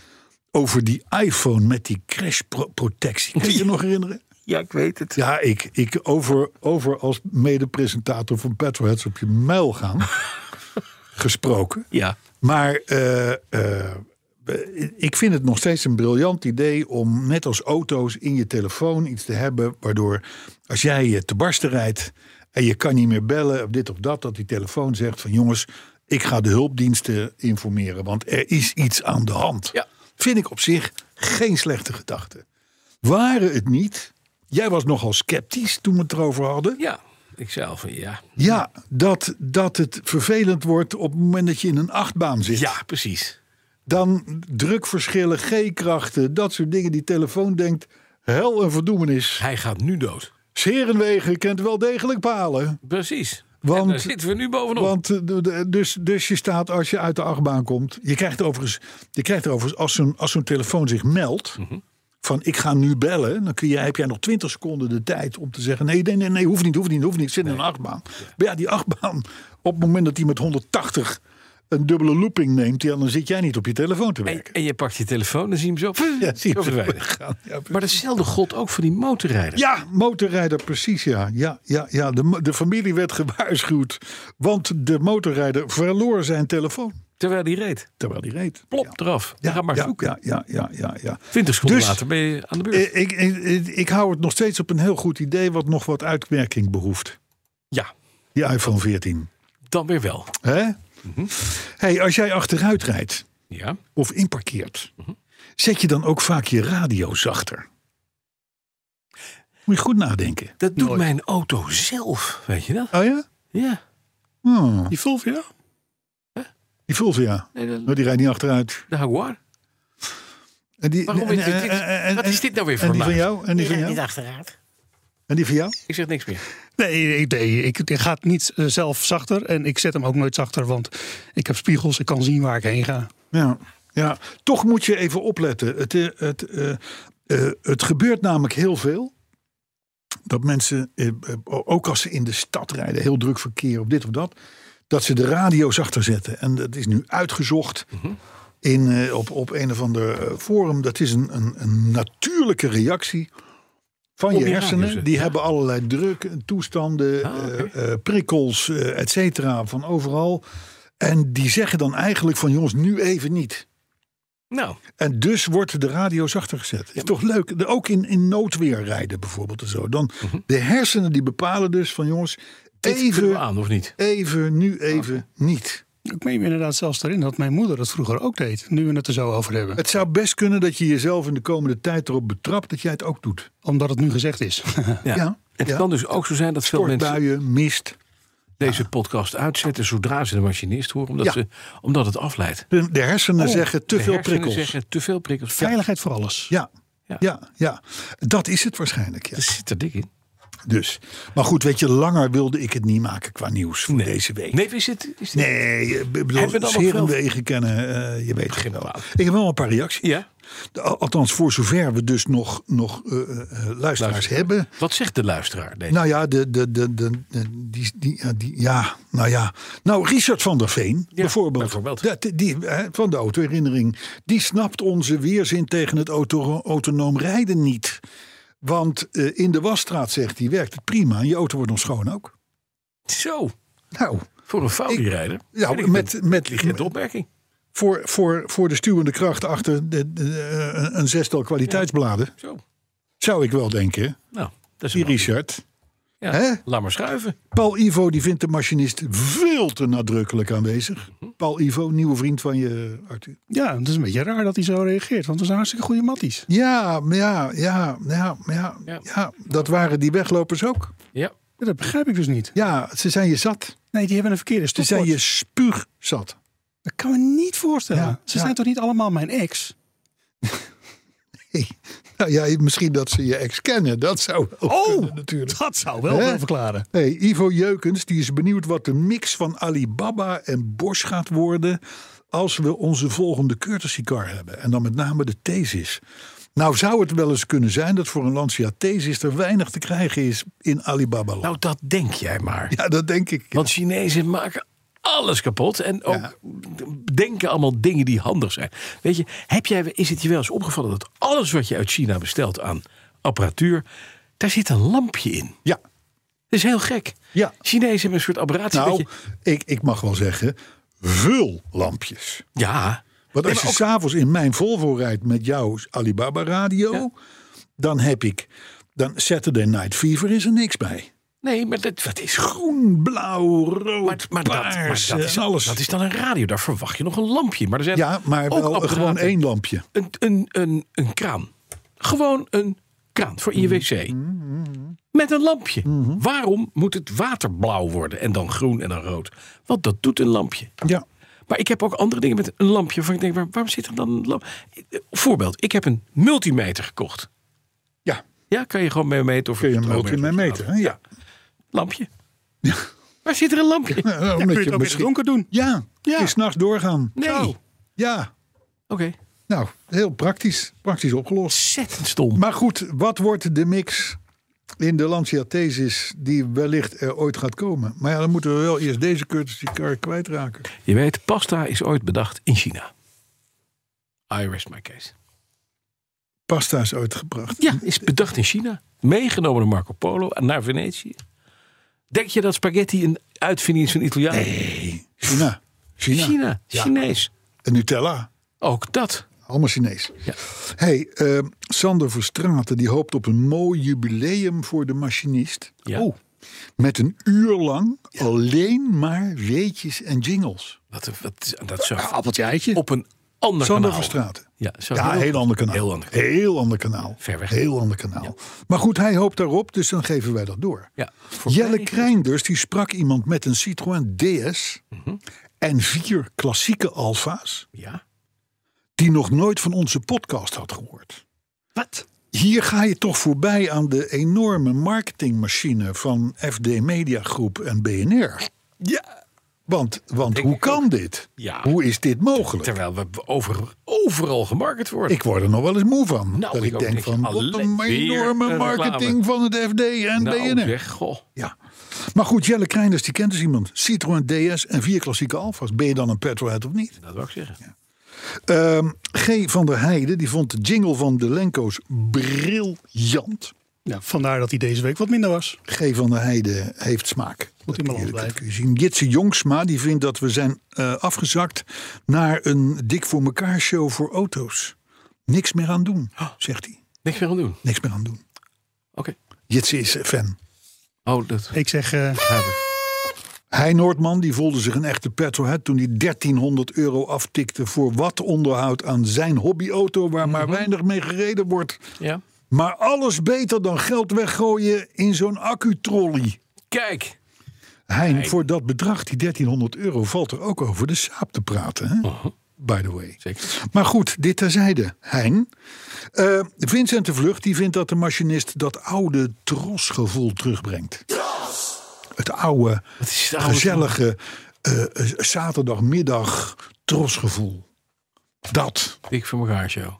B: over die iPhone met die crash pro- protectie. Kun je je nog herinneren?
C: Ja, ik weet het.
B: Ja, ik, ik over, over als mede-presentator van Petroheads op je muil gaan. gesproken.
C: Ja,
B: Maar eh, eh, ik vind het nog steeds een briljant idee om net als auto's in je telefoon iets te hebben. Waardoor als jij je te barsten rijdt en je kan niet meer bellen of dit of dat. Dat die telefoon zegt van jongens, ik ga de hulpdiensten informeren. Want er is iets aan de hand.
C: Ja.
B: Vind ik op zich geen slechte gedachte. Waren het niet, jij was nogal sceptisch toen we het erover hadden.
C: ja. Ik zei al van ja.
B: Ja, dat, dat het vervelend wordt op het moment dat je in een achtbaan zit.
C: Ja, precies.
B: Dan drukverschillen, G-krachten, dat soort dingen. Die telefoon denkt, hel en verdoemenis.
C: Hij gaat nu dood.
B: Scherenwegen kent wel degelijk palen.
C: Precies.
B: Want-
C: en daar zitten we nu bovenop.
B: Want eh, de- de- dus, dus je staat als je uit de achtbaan komt. Je krijgt overigens, je krijgt overigens als zo'n als zo'n telefoon zich meldt. Van ik ga nu bellen. Dan kun je, heb jij nog 20 seconden de tijd om te zeggen. Nee, nee, nee, nee hoeft niet, hoeft niet, hoeft niet. Ik zit in een achtbaan. Maar ja, die achtbaan. Op het moment dat die met 180 een dubbele looping neemt. Ja, dan zit jij niet op je telefoon te
C: En,
B: werken.
C: en je pakt je telefoon en zie je hem zo,
B: Ja, zie je
C: zo verdwijnen.
B: weggaan. Ja, precies.
C: Maar datzelfde god ook voor die motorrijder.
B: Ja, motorrijder, precies ja. ja, ja, ja. De, mo- de familie werd gewaarschuwd. Want de motorrijder verloor zijn telefoon.
C: Terwijl die reed.
B: Terwijl die reed.
C: Plop eraf.
B: Ja,
C: Ga maar
B: ja,
C: zoeken.
B: Ja, ja, ja, ja, ja.
C: 20 seconden
B: Dus-
C: later ben je aan de beurt.
B: Eh, Ik, ik, ik, ik hou het nog steeds op een heel goed idee wat nog wat uitwerking behoeft.
C: ja,
B: Die iPhone 14.
C: dan weer wel.
B: Hè? Hey, als jij achteruit rijdt
C: Ja.
B: of inparkeert, zet je dan ook vaak je radio zachter? Moet je goed nadenken.
C: Dat doet mijn auto zelf, weet je dat?
B: Oh ja?
C: Ja.
B: Hmm,
D: Die Fulvia?
B: Die Fulvia.
C: Nee, dat-
B: Maar Oh, die rijdt niet achteruit.
C: de Jaguar.
B: En die,
C: Waarom
B: en-
C: is dit- dit-
B: en- en-
C: wat is dit nou weer voor
B: En die van
C: luid?
B: jou? En die van
F: rijdt niet
B: jou?
F: achteruit.
B: En die van jou?
C: Ik zeg niks meer.
D: Nee, ik, nee, ik, ik ga het niet eh, zelf zachter. En ik zet hem ook nooit zachter, want ik heb spiegels. Ik kan zien waar ik heen ga.
B: Ja, ja. toch moet je even opletten. Het, eh, het, eh, eh, het gebeurt namelijk heel veel. Dat mensen, eh, eh, ook als ze in de stad rijden, heel druk verkeer op dit of dat. Dat ze de radio zachter zetten. En dat is nu uitgezocht
C: Mhm.
B: in, eh, op, op een of ander eh, forum. Dat is een, een, een natuurlijke reactie van je,
C: je radio dus.
B: hersenen.
C: zetten,
B: Die hebben allerlei druk, toestanden,
C: Ah, oké.
B: eh, eh, prikkels, eh, et cetera, van overal. En die zeggen dan eigenlijk van jongens, nu even niet.
C: Nou,
B: En dus wordt de radio zachter gezet. Is toch leuk? De- Ook in, in noodweer rijden bijvoorbeeld en zo. Dan de hersenen die bepalen dus van jongens,
C: dit Mhm. kunnen we
B: even,
C: aan Ah. of niet?
B: even, nu even niet.
D: Ik meen me inderdaad zelfs erin dat mijn moeder dat vroeger ook deed. Nu we het er zo over hebben.
B: Het zou best kunnen dat je jezelf in de komende tijd erop betrapt dat jij het ook doet.
D: Omdat het nu gezegd is.
C: Ja.
B: Ja,
C: Het
B: ja.
C: kan dus ook zo zijn dat veel mensen
B: Stortbuien, mist.
C: deze podcast uitzetten zodra ze de machinist horen, omdat,
B: Ja.
C: ze, omdat het afleidt. Oh,
B: De, de hersenen zeggen te
C: De
B: veel
C: hersenen
B: prikkels.
C: Zeggen te veel prikkels. Ja,
D: Veiligheid voor alles.
B: Ja.
C: Ja.
B: Ja. Ja, dat is het waarschijnlijk. Ja.
C: dat zit er dik in.
B: Dus. Maar goed, weet je, langer wilde ik het niet maken qua nieuws voor deze week.
C: Nee, is het? Is dit-
B: Nee, ik bedoel,
C: Hebben we dan nog
B: zere
C: veel-
B: wegen kennen, eh, je weet het wel.
C: fout.
B: Ik heb wel een paar reacties.
C: Ja.
B: De- al- Althans, voor zover we dus nog, nog eh, eh, eh, luisteraars hebben.
C: Wat zegt de luisteraar? Deze?
B: Nou ja, de, de, de, de, de- die, die, ja, die, ja, nou ja. Nou, Richard van der Veen, bijvoorbeeld.
C: bijvoorbeeld.
B: Dat, die, hè, van de autoherinnering. Die snapt onze weerzin tegen het auto, autonoom rijden niet. Want eh, in de wasstraat, zegt hij, werkt het prima. En je auto wordt nog schoon ook.
C: Zo,
B: Nou,
C: voor een Faudi-rijder.
B: ja,
C: Vind ik
B: met,
C: een
B: met,
C: intelligente opmerking.
B: voor, voor, voor de stuwende kracht achter de, de- de- een- een zestal kwaliteitsbladen.
C: Zo.
B: Zou ik wel denken.
C: Nou, dat is
B: Die
C: een
B: Richard.
C: Ja,
B: Hè?
C: Laat maar schuiven.
B: Paul Ivo die vindt de machinist veel te nadrukkelijk aanwezig. Paul Ivo, nieuwe vriend van je, Arthur.
D: Ja, het is een beetje raar dat hij zo reageert. Want we zijn hartstikke goede matties.
B: Ja, maar ja, ja, ja, ja,
C: Ja.
B: ja, Dat waren die weglopers ook.
C: Ja.
D: Ja, dat begrijp ik dus niet.
B: Ja, ze zijn je zat.
D: Nee, die hebben een verkeerde
B: Ze zijn
D: stopwoord.
B: je spuugzat.
D: Dat kan me niet voorstellen.
B: Ja,
D: Ze
B: ja.
D: zijn toch niet allemaal mijn ex?
B: Hey. Nou ja, misschien dat ze je ex kennen. Dat zou wel kunnen natuurlijk.
D: dat zou wel
B: Hè?
D: veel verklaren.
B: Hey, Ivo Jeukens die is benieuwd wat de mix van Alibaba en Bosch gaat worden als we onze volgende courtesy car hebben. En dan met name de Thesis. Nou zou het wel eens kunnen zijn dat voor een Lancia Thesis er weinig te krijgen is in Alibaba.
C: Nou, dat denk jij maar.
B: ja, dat denk ik.
C: Want Chinezen maken alles kapot. En ook denken allemaal dingen die handig zijn. Weet je, heb jij, is het je wel eens opgevallen dat alles wat je uit China bestelt aan apparatuur. daar zit een lampje in?
B: Ja,
C: Dat is heel gek.
B: Ja.
C: Chinezen hebben een soort apparatie. dat
B: nou,
C: je-
B: ik, ik mag wel zeggen, vul lampjes.
C: ja.
B: Want
C: Nee,
B: als
C: maar
B: je s'avonds in mijn Volvo rijdt met jouw Alibaba radio, dan heb ik, dan Saturday Night Fever is er niks bij.
C: Nee, maar dat, wat is groen.
B: groen, blauw, rood,
C: Maar, maar, dat, maar
B: paars,
C: dat, is,
B: Oh, eh, alles.
C: dat is dan een radio. Daar verwacht je nog een lampje. Maar er zijn
B: ja, maar
C: ook
B: wel
C: apparaten.
B: gewoon één lampje.
C: Een, een, een, een kraan. Gewoon een kraan voor in je wc.
B: Mm,
C: Met een lampje.
B: Mm-hmm.
C: Waarom moet het water blauw worden en dan groen en dan rood? Want dat doet een lampje.
B: Ja.
C: Maar ik heb ook andere dingen met een lampje. Van ik denk, maar waarom zit er dan een lampje? Voorbeeld, ik heb een multimeter gekocht.
B: Ja,
C: Ja, kan je gewoon mee meten of
B: kun je
C: het
B: hem ook in mijn meter. hè? Ja.
C: Lampje. Waar zit er een lampje?
B: Nou, omdat
D: Kun je
B: je
D: het ook in het
B: misschien-
D: donker doen?
B: Ja,
D: Ja.
B: ja. s'nachts doorgaan.
C: Nee.
B: Nou,
C: Oké,
B: Ja, nou, heel praktisch. Praktisch opgelost.
C: ontzettend stom.
B: Maar goed, wat wordt de mix in de Lancia Thesis die wellicht er ooit gaat komen? Maar ja, dan moeten we wel eerst deze courtesy car kwijtraken.
C: Je weet, pasta is ooit bedacht in China. I rest my case.
B: Pasta is ooit gebracht.
C: Ja, is bedacht in China. Meegenomen door Marco Polo naar Venetië. Denk je dat spaghetti een uitvinding is van Italianen?
B: China. China.
C: China, Chinees.
B: En Nutella.
C: Ook dat.
B: Allemaal Chinees.
C: Ja.
B: Hey, eh, Sander Verstraten die hoopt op een mooi jubileum voor de machinist.
C: Ja.
B: Oh, met een uur lang alleen maar weetjes en jingles.
C: Dat, dat, dat zou
D: Appeltje eitje.
C: op een ander
B: Sander
C: kanaal.
B: Verstraten.
C: Ja, zo
B: Ja, heel ander kanaal.
C: Heel ander kanaal.
B: Heel ander kanaal.
C: Ver weg.
B: Heel ander kanaal. Maar goed, hij hoopt daarop, dus dan geven wij dat door.
C: Ja, voor
B: Jelle
C: mij-
B: Krijnders die sprak iemand met een Citroën DS
C: Mhm.
B: en vier klassieke Alfa's
C: Ja.
B: die nog nooit van onze podcast had gehoord.
D: Wat?
B: Hier ga je toch voorbij aan de enorme marketingmachine van FD Media Groep en BNR.
C: ja.
B: Want, want hoe kan dit?
C: Ja.
B: Hoe is dit mogelijk?
C: Terwijl we over, overal gemarket worden.
B: Ik word er nog wel eens moe van.
C: Nou,
B: dat
C: ik
B: ik
C: ook
B: denk
C: niet.
B: van, wat
C: Alleen
B: een
C: weer
B: enorme
C: een reclame.
B: marketing van het FD en
C: nou,
B: BNR.
C: zeg, goh.
B: Ja. Maar goed, Jelle Krijnders, die kent dus iemand. Citroën DS en vier klassieke Alfa's. Ben je dan een petrolhead of niet?
C: Dat wil ik zeggen.
B: Ehm, G. van der Heijden, die vond de jingle van de Lenko's briljant.
D: Ja, vandaar dat hij deze week wat minder was.
B: G. van der Heijden heeft smaak.
D: Moet
B: Dat
D: in balans
B: kun je-
D: blijven.
B: dat kun je zien. Jitse Jongsma, die vindt dat we zijn eh, afgezakt... naar een dik voor mekaar show voor auto's. Niks meer aan doen, zegt hij.
C: Niks meer aan doen.
B: Niks meer aan doen.
C: Oké.
B: Jitse is fan.
C: Oh, dat
D: Ik zeg, eh,
B: Hij Noordman die voelde zich een echte petrolhead toen hij 1300 euro aftikte voor wat onderhoud aan zijn hobbyauto waar
D: Mhm.
B: maar weinig mee gereden wordt.
C: Ja.
B: Maar alles beter dan geld weggooien in zo'n accutrolley.
C: Kijk.
B: Hein, voor dat bedrag, die 1300 euro, valt er ook over de saap te praten. Hè? By the way.
C: Zeker.
B: Maar goed, dit terzijde. Hein. Eh, Vincent de Vlucht die vindt dat de machinist dat oude trosgevoel terugbrengt. Het oude,
C: is het oude
B: gezellige eh, eh, zaterdagmiddag trosgevoel. Dat.
C: Dik voor elkaar show.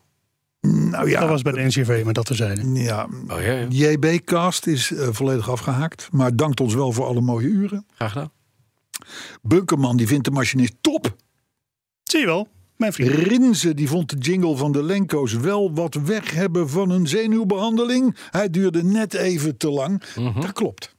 B: Nou ja,
D: dat was bij de NCV, maar dat er zijn.
B: ja
C: Oh ja, ja.
B: JB-cast is eh, volledig afgehaakt. Maar dankt ons wel voor alle mooie uren.
C: graag gedaan.
B: Bunkerman die vindt de machinist top.
D: Zie je wel, mijn vriend.
B: Rinze die vond de jingle van de Lenko's wel wat weg hebben van een zenuwbehandeling. Hij duurde net even te lang.
D: Mhm.
B: Dat klopt.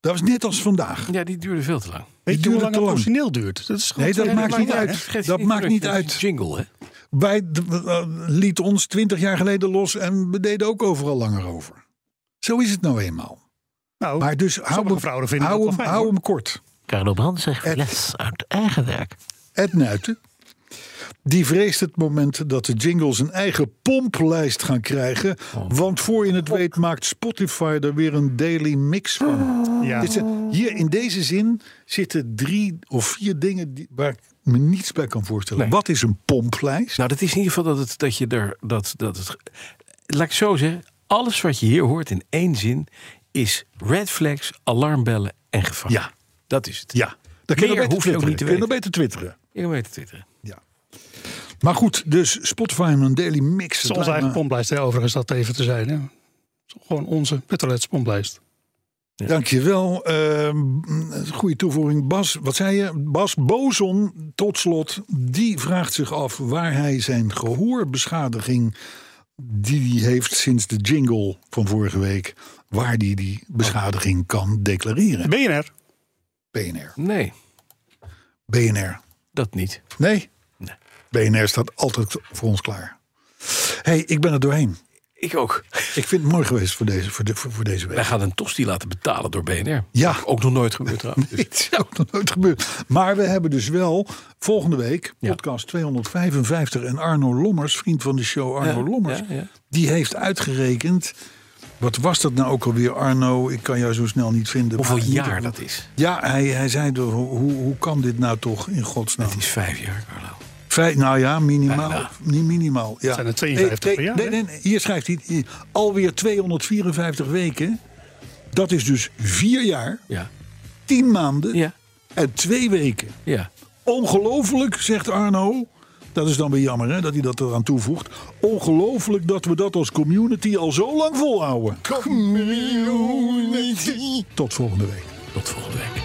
B: Dat was net als vandaag.
C: Ja, die duurde veel te lang.
D: Weet je hoe
B: duurde
D: lang
B: te
D: het
B: lang.
D: origineel duurt? Dat is gewoon
B: Nee, dat
D: twee
B: maakt
D: minuten
B: niet
D: lang,
B: uit.
D: hè?
C: Geeft
B: Dat
C: niet
B: maakt
C: druk,
B: niet
C: dat is
B: uit.
C: een Jingle, hè?
B: Wij d- eh, liet ons twintig jaar geleden los en we deden ook overal langer over. Zo is het nou eenmaal.
D: Nou,
B: Maar dus hou
D: Sommige
B: hem,
D: vrouwen vinden
B: hou
D: dat
B: hem,
D: wel fijn,
B: hou
D: hoor.
B: hem kort.
F: Carlo Brand zegt
B: Ed.
F: les uit eigen werk.
B: Ed Nuiten. Die vreest het moment dat de jingles een eigen pomplijst gaan krijgen.
C: Oh.
B: Want voor je het weet maakt Spotify er weer een daily mix van.
D: ja.
B: Dit zijn- hier in deze zin zitten drie of vier dingen die, waar ik me niets bij kan voorstellen.
C: Nee.
B: Wat is een pomplijst?
C: Nou, dat is in ieder geval dat, het, dat je er. Dat, dat het, laat ik het zo zeggen. Alles wat je hier hoort in één zin is red flags, alarmbellen en gevaar.
B: Ja.
C: Dat is het.
B: ja, dat kun je
C: Meer
B: beter
C: hoef je ook
B: twitteren.
C: niet te
B: Kun je
C: weten.
B: nog beter twitteren.
C: Ik kan weten twitteren.
B: Ja. Maar goed, dus Spotify en een daily mix. dat
D: Het is onze
B: lijkt
D: eigen
B: me-
D: pomplijst, hè, overigens, dat even te zijn. Hè. Het is Gewoon onze Petrolets pomplijst.
B: Dankjewel. Ehm, goede toevoeging. Bas, wat zei je? Bas Bozon, tot slot, die vraagt zich af waar hij zijn gehoorbeschadiging die hij heeft sinds de jingle van vorige week, waar die die beschadiging kan declareren.
D: BNR.
B: BNR.
C: Nee,
B: BNR.
C: dat niet.
B: Nee? BNR staat altijd voor ons klaar. hey, ik ben er doorheen.
C: Ik ook.
B: Ik vind het mooi geweest voor deze, voor de, voor, voor deze
C: Wij
B: week.
C: gaan een tosti laten betalen door BNR.
B: Ja.
C: Ook nog nooit gebeurd trouwens. Dus-
B: Dit zou nog nooit gebeuren. Maar we hebben dus wel volgende week
C: Ja.
B: podcast 255 en Arno Lommers, vriend van de show Arno
C: Ja,
B: Lommers,
C: ja, ja.
B: die heeft uitgerekend. Wat was dat nou ook alweer, Arno? Ik kan jou zo snel niet vinden.
C: Hoeveel
B: maar in ieder
C: jaar
B: geval-
C: dat is?
B: Ja, hij, hij zei, door, hoe, hoe- hoe kan dit nou toch in godsnaam?
C: Het is vijf jaar, Carlo.
B: Vijf, nou ja, minimaal. Niet minimaal. Ja.
D: zijn er 52
B: Nee,
D: per jaar,
B: Nee,
D: hè?
B: nee, nee, hier schrijft hij hier, alweer 254 weken. Dat is dus vier jaar,
C: Ja.
B: tien maanden
C: Ja.
B: en twee weken.
C: Ja.
B: Ongelooflijk, zegt Arno. Dat is dan weer jammer hè, dat hij dat eraan toevoegt. Ongelooflijk dat we dat als community al zo lang volhouden. Community. Tot volgende week.
C: Tot volgende week.